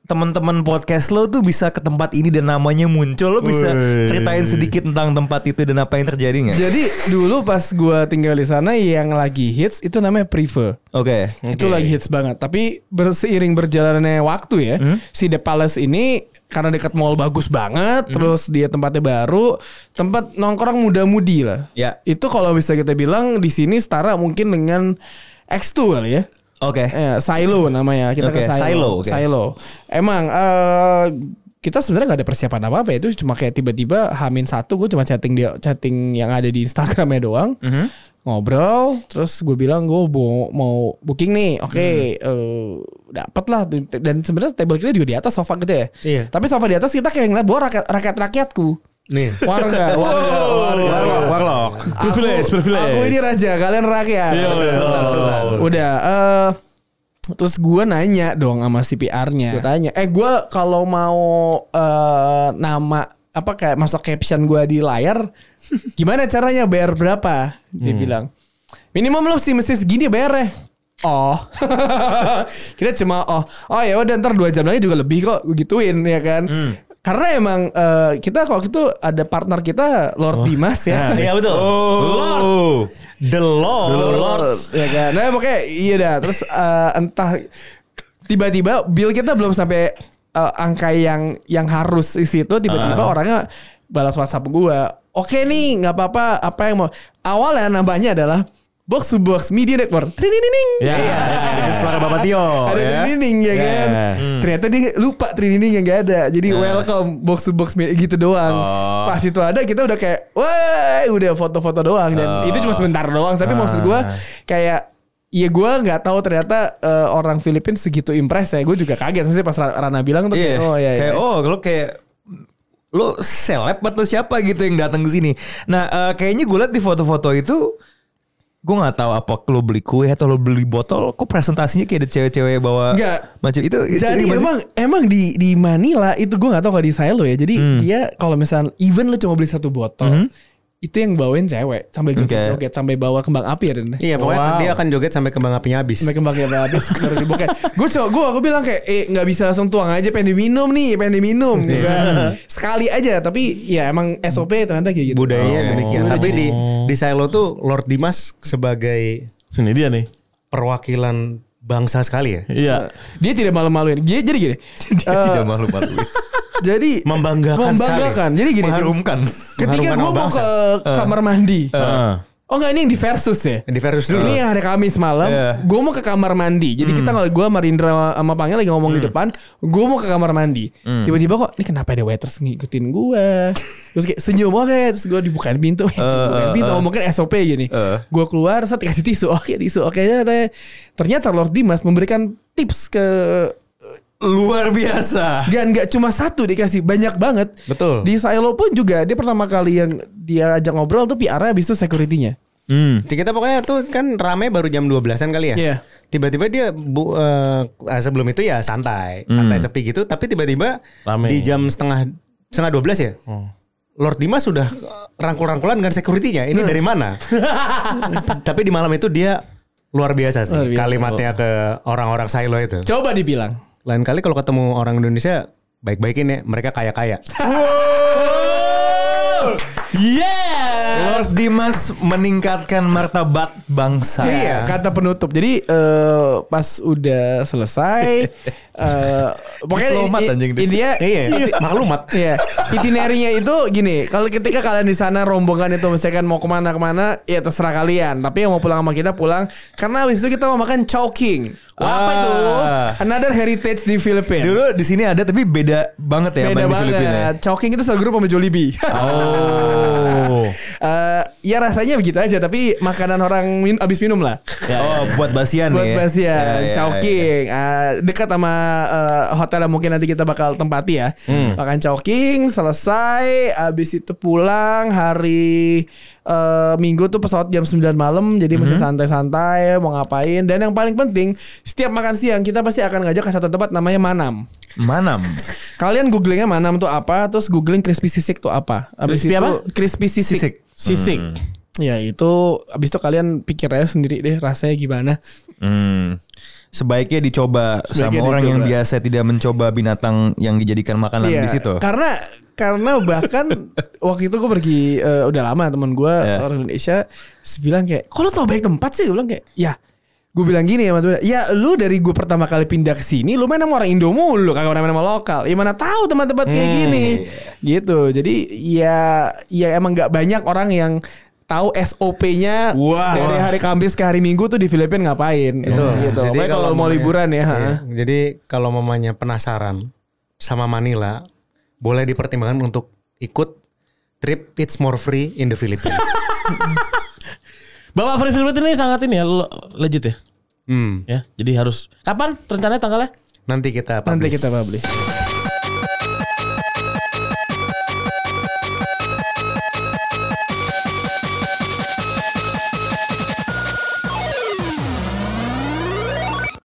Speaker 3: teman-teman podcast lo tuh bisa ke tempat ini dan namanya muncul. Lo bisa ceritain sedikit tentang tempat itu dan apa yang terjadi nggak?
Speaker 6: Jadi dulu pas gua tinggal di sana yang lagi hits itu namanya Prefer.
Speaker 3: Oke.
Speaker 6: Itu lagi hits banget. Tapi berseiring berjalannya waktu ya,
Speaker 3: Hmm?
Speaker 6: si The Palace ini karena dekat mall bagus banget,
Speaker 3: Hmm.
Speaker 6: terus dia tempatnya baru, tempat nongkrong muda-mudi lah.
Speaker 3: Ya.
Speaker 6: Itu kalau bisa kita bilang di sini setara mungkin dengan X2 kali ya.
Speaker 3: Oke.
Speaker 6: Eh, silo namanya kita
Speaker 3: Oke,
Speaker 6: ke
Speaker 3: silo,
Speaker 6: silo. Silo.
Speaker 3: oke.
Speaker 6: Emang eh kita sebenarnya nggak ada persiapan apa apa itu cuma kayak tiba-tiba Hamin satu gue cuma chatting dia chatting yang ada di Instagramnya doang
Speaker 3: Mhm.
Speaker 6: ngobrol terus gue bilang gue mau, mau booking nih oke
Speaker 3: Mhm.
Speaker 6: eh, dapet lah dan sebenarnya table kita juga di atas sofa gitu ya
Speaker 2: Iya.
Speaker 6: tapi sofa di atas kita kayak ngeliat bahwa rakyat rakyat rakyatku
Speaker 2: Nih.
Speaker 6: warga warga warga
Speaker 2: Warlock, warlock.
Speaker 3: Privilege, privilege. Iya,
Speaker 6: aku ini raja kalian rakyat Udah eh terus gue nanya dong sama si PR-nya. Gue tanya, "Eh gue kalau mau eh nama apa kayak masuk caption gue di layar gimana caranya bayar berapa?" Dia bilang, "Minimum lo sih mesti segini bayarnya." Oh, kita cuma oh, oh ya udah ntar dua jam lagi juga lebih kok Gua gituin ya kan? Karena emang eh, kita waktu itu ada partner kita Lord Dimas ya.
Speaker 2: Nah, Iya betul.
Speaker 3: oh.
Speaker 2: Lord. The Lord.
Speaker 6: Ya kan. Nah, pokoknya iya dah. Terus eh, entah tiba-tiba bill kita belum sampai eh, angka yang yang harus isi itu
Speaker 3: Ah.
Speaker 6: tiba-tiba orangnya balas WhatsApp gua. Oke nih, nggak apa-apa. Apa yang mau? Awalnya nambahnya adalah box to box media network. Trinining.
Speaker 3: Ya, ada suara Bapak Tio.
Speaker 6: Ada
Speaker 3: ya.
Speaker 6: trinining ya kan.
Speaker 3: Hmm.
Speaker 6: Ternyata dia lupa trinining yang nggak ada. Jadi
Speaker 3: Nah.
Speaker 6: welcome box to box media gitu doang.
Speaker 3: Oh.
Speaker 6: Pas itu ada kita udah kayak, wah, udah foto-foto
Speaker 3: Oh.
Speaker 6: doang dan itu cuma sebentar doang. Tapi maksud gua
Speaker 3: Ah.
Speaker 6: kayak Iya gue nggak tahu ternyata eh, orang Filipina segitu impress ya gue juga kaget maksudnya pas Ra- Rana bilang tuh
Speaker 3: Iya.
Speaker 6: kayak, oh iya,
Speaker 3: Kayak
Speaker 6: iya.
Speaker 3: oh lo kayak lo seleb atau siapa gitu yang datang ke sini. Nah, eh, kayaknya gue liat di foto-foto itu gue nggak tahu apa lo beli kue atau lo beli botol kok presentasinya kayak ada cewek-cewek bawa
Speaker 6: Nggak.
Speaker 3: macam itu itu gimana gitu
Speaker 6: Jadi
Speaker 3: ya sih?
Speaker 6: emang emang di di Manila itu gue nggak tahu kalau di saya lo ya. Jadi
Speaker 3: Hmm.
Speaker 6: dia kalau misalnya even lo cuma beli satu botol, itu yang bawain cewek sambil joget-joget sampai bawa kembang api ya dan
Speaker 2: Iya, pokoknya dia akan joget sampai kembang apinya habis.
Speaker 6: sampai kembangnya bawa habis baru dibukain. Gue coba gue aku bilang kayak eh nggak bisa langsung tuang aja pengen diminum nih pengen diminum
Speaker 3: Iya.
Speaker 6: Gua- kan. sekali aja tapi ya emang SOP ternyata kayak
Speaker 3: Iya,
Speaker 6: gitu.
Speaker 2: Budayanya Iya, demikian. Tapi di
Speaker 3: Oh.
Speaker 2: di Silo tuh Lord Dimas sebagai
Speaker 4: Sini dia nih.
Speaker 2: perwakilan bangsa sekali ya.
Speaker 4: Iya.
Speaker 6: Dia tidak malu-maluin. Dia jadi gini.
Speaker 3: Dia
Speaker 6: eh,
Speaker 3: tidak malu-malu.
Speaker 6: jadi
Speaker 2: Membanggakan
Speaker 6: membanggakan. Jadi gini.
Speaker 3: Mengharumkan. Eh.
Speaker 6: Ketika
Speaker 2: Mengharumkan
Speaker 6: gue
Speaker 2: nama
Speaker 6: mau
Speaker 2: bangsa.
Speaker 6: ke kamar mandi.
Speaker 3: Heeh.
Speaker 6: Oh enggak ini yang di versus ya?
Speaker 2: Di Versus dulu.
Speaker 6: Ini yang hari Kamis malam,
Speaker 3: Iya.
Speaker 6: gue mau ke kamar mandi. Jadi kita kalau gue sama Rindra sama- sama Pange lagi ngomong di depan, gue mau ke kamar mandi. Tiba-tiba kok ini kenapa ada waiters ngikutin gue? terus kayak senyum oke, terus gue dibukain pintu, dibukain pintu, Oh, mungkin SOP gini.
Speaker 3: Eh.
Speaker 6: Gue keluar, saya dikasih tisu, oke tisu, oke. ya, Ternyata Lord Dimas memberikan tips ke
Speaker 3: Luar biasa.
Speaker 6: dan nggak cuma satu dikasih banyak banget.
Speaker 2: Betul.
Speaker 6: Di Silo pun juga dia pertama kali yang dia ajak ngobrol tuh PR-nya habis itu security-nya.
Speaker 2: Jadi kita pokoknya tuh kan rame baru jam 12-an kali ya.
Speaker 6: Iya.
Speaker 2: Tiba-tiba dia bu, eh, sebelum itu ya
Speaker 3: Iya.
Speaker 2: santai, santai
Speaker 3: Hmm.
Speaker 2: sepi gitu, tapi tiba-tiba
Speaker 4: Rame.
Speaker 2: di jam setengah setengah 12 ya. Lord Dimas sudah rangkul-rangkulan dengan security-nya. Ini dari mana? tapi di malam itu dia luar biasa sih
Speaker 6: Luar biasa.
Speaker 2: kalimatnya ke orang-orang silo itu.
Speaker 6: Coba dibilang.
Speaker 2: Lain kali kalau ketemu orang Indonesia baik-baikin ya, mereka kaya-kaya.
Speaker 3: Lord Dimas meningkatkan martabat bangsa.
Speaker 6: Iya, kata penutup. Jadi eh, pas udah selesai eh pokoknya
Speaker 3: Diplomat
Speaker 6: ini-
Speaker 3: anjing dia.
Speaker 6: intinya
Speaker 2: Iya, maklumat.
Speaker 6: Iya, itinerinya itu gini. Kalau ketika kalian di sana rombongan itu misalkan mau kemana kemana, ya terserah kalian. Tapi yang mau pulang sama kita pulang, karena habis itu kita mau makan chowking. Wah, apa itu?
Speaker 3: Ah.
Speaker 6: Another heritage di Filipina.
Speaker 3: Dulu di sini ada tapi beda banget ya sama
Speaker 6: Beda
Speaker 3: yang di Filipina. ya.
Speaker 6: banget. Chowking itu segrup sama Jollibee.
Speaker 3: Oh.
Speaker 6: Eh, ya rasanya begitu aja, tapi makanan orang min abis minum lah.
Speaker 3: oh, buat basian
Speaker 6: buat
Speaker 3: ya.
Speaker 6: Basian,
Speaker 3: Ya, ya, ya.
Speaker 6: Chowking, Ah, dekat sama eh, hotel yang mungkin nanti kita bakal tempati ya.
Speaker 3: Hmm.
Speaker 6: Makan Chowking, selesai, habis itu pulang hari eh, Minggu tuh pesawat jam 9 malam, jadi masih
Speaker 3: Hmm.
Speaker 6: santai-santai mau ngapain. Dan yang paling penting, setiap makan siang kita pasti akan ngajak ke satu tempat namanya Manam.
Speaker 3: Manam.
Speaker 6: Kalian googlingnya Manam tuh apa, terus googling crispy sisik tuh apa. Habis
Speaker 3: Crispy
Speaker 6: itu
Speaker 3: apa?
Speaker 6: crispy sisik.
Speaker 3: Sisik.
Speaker 6: Sisik. Ya itu habis itu kalian pikir aja sendiri deh rasanya gimana.
Speaker 3: Hmm. Sebaiknya dicoba
Speaker 6: Sebaiknya
Speaker 3: sama orang yang
Speaker 6: dicoba.
Speaker 3: biasa tidak mencoba binatang yang dijadikan makanan
Speaker 6: Iya,
Speaker 3: di situ.
Speaker 6: Karena karena bahkan waktu itu gue pergi eh, udah lama teman gue
Speaker 3: Iya.
Speaker 6: orang Indonesia terus bilang kayak, "Kok lo tau baik tempat sih?" Gue bilang kayak, "Ya, gue bilang gini ya, teman ya lu dari gue pertama kali pindah ke sini, lu main sama orang Indo mulu, kagak pernah main sama lokal. Ya mana tahu tempat-tempat kayak
Speaker 3: Hmm.
Speaker 6: gini." Gitu. Jadi ya ya emang nggak banyak orang yang tahu SOP-nya
Speaker 3: Wah.
Speaker 6: dari hari Kamis ke hari Minggu tuh di Filipina ngapain. Gitu.
Speaker 2: Jadi
Speaker 6: Jadi
Speaker 2: Iya, kalau
Speaker 3: iya,
Speaker 2: Iya.
Speaker 6: kalau mau ya,
Speaker 2: mamanya-
Speaker 6: liburan ya. ha.
Speaker 2: Jadi kalau mamanya penasaran sama Manila, boleh dipertimbangkan untuk ikut trip It's More Free in the Philippines. Iya.
Speaker 4: Bapak Free Spirit ini sangat ini ya lo- legit ya.
Speaker 2: hmm.
Speaker 4: Ya, jadi harus kapan rencananya tanggalnya?
Speaker 2: Nanti kita
Speaker 8: Nanti
Speaker 2: publish.
Speaker 8: kita publish.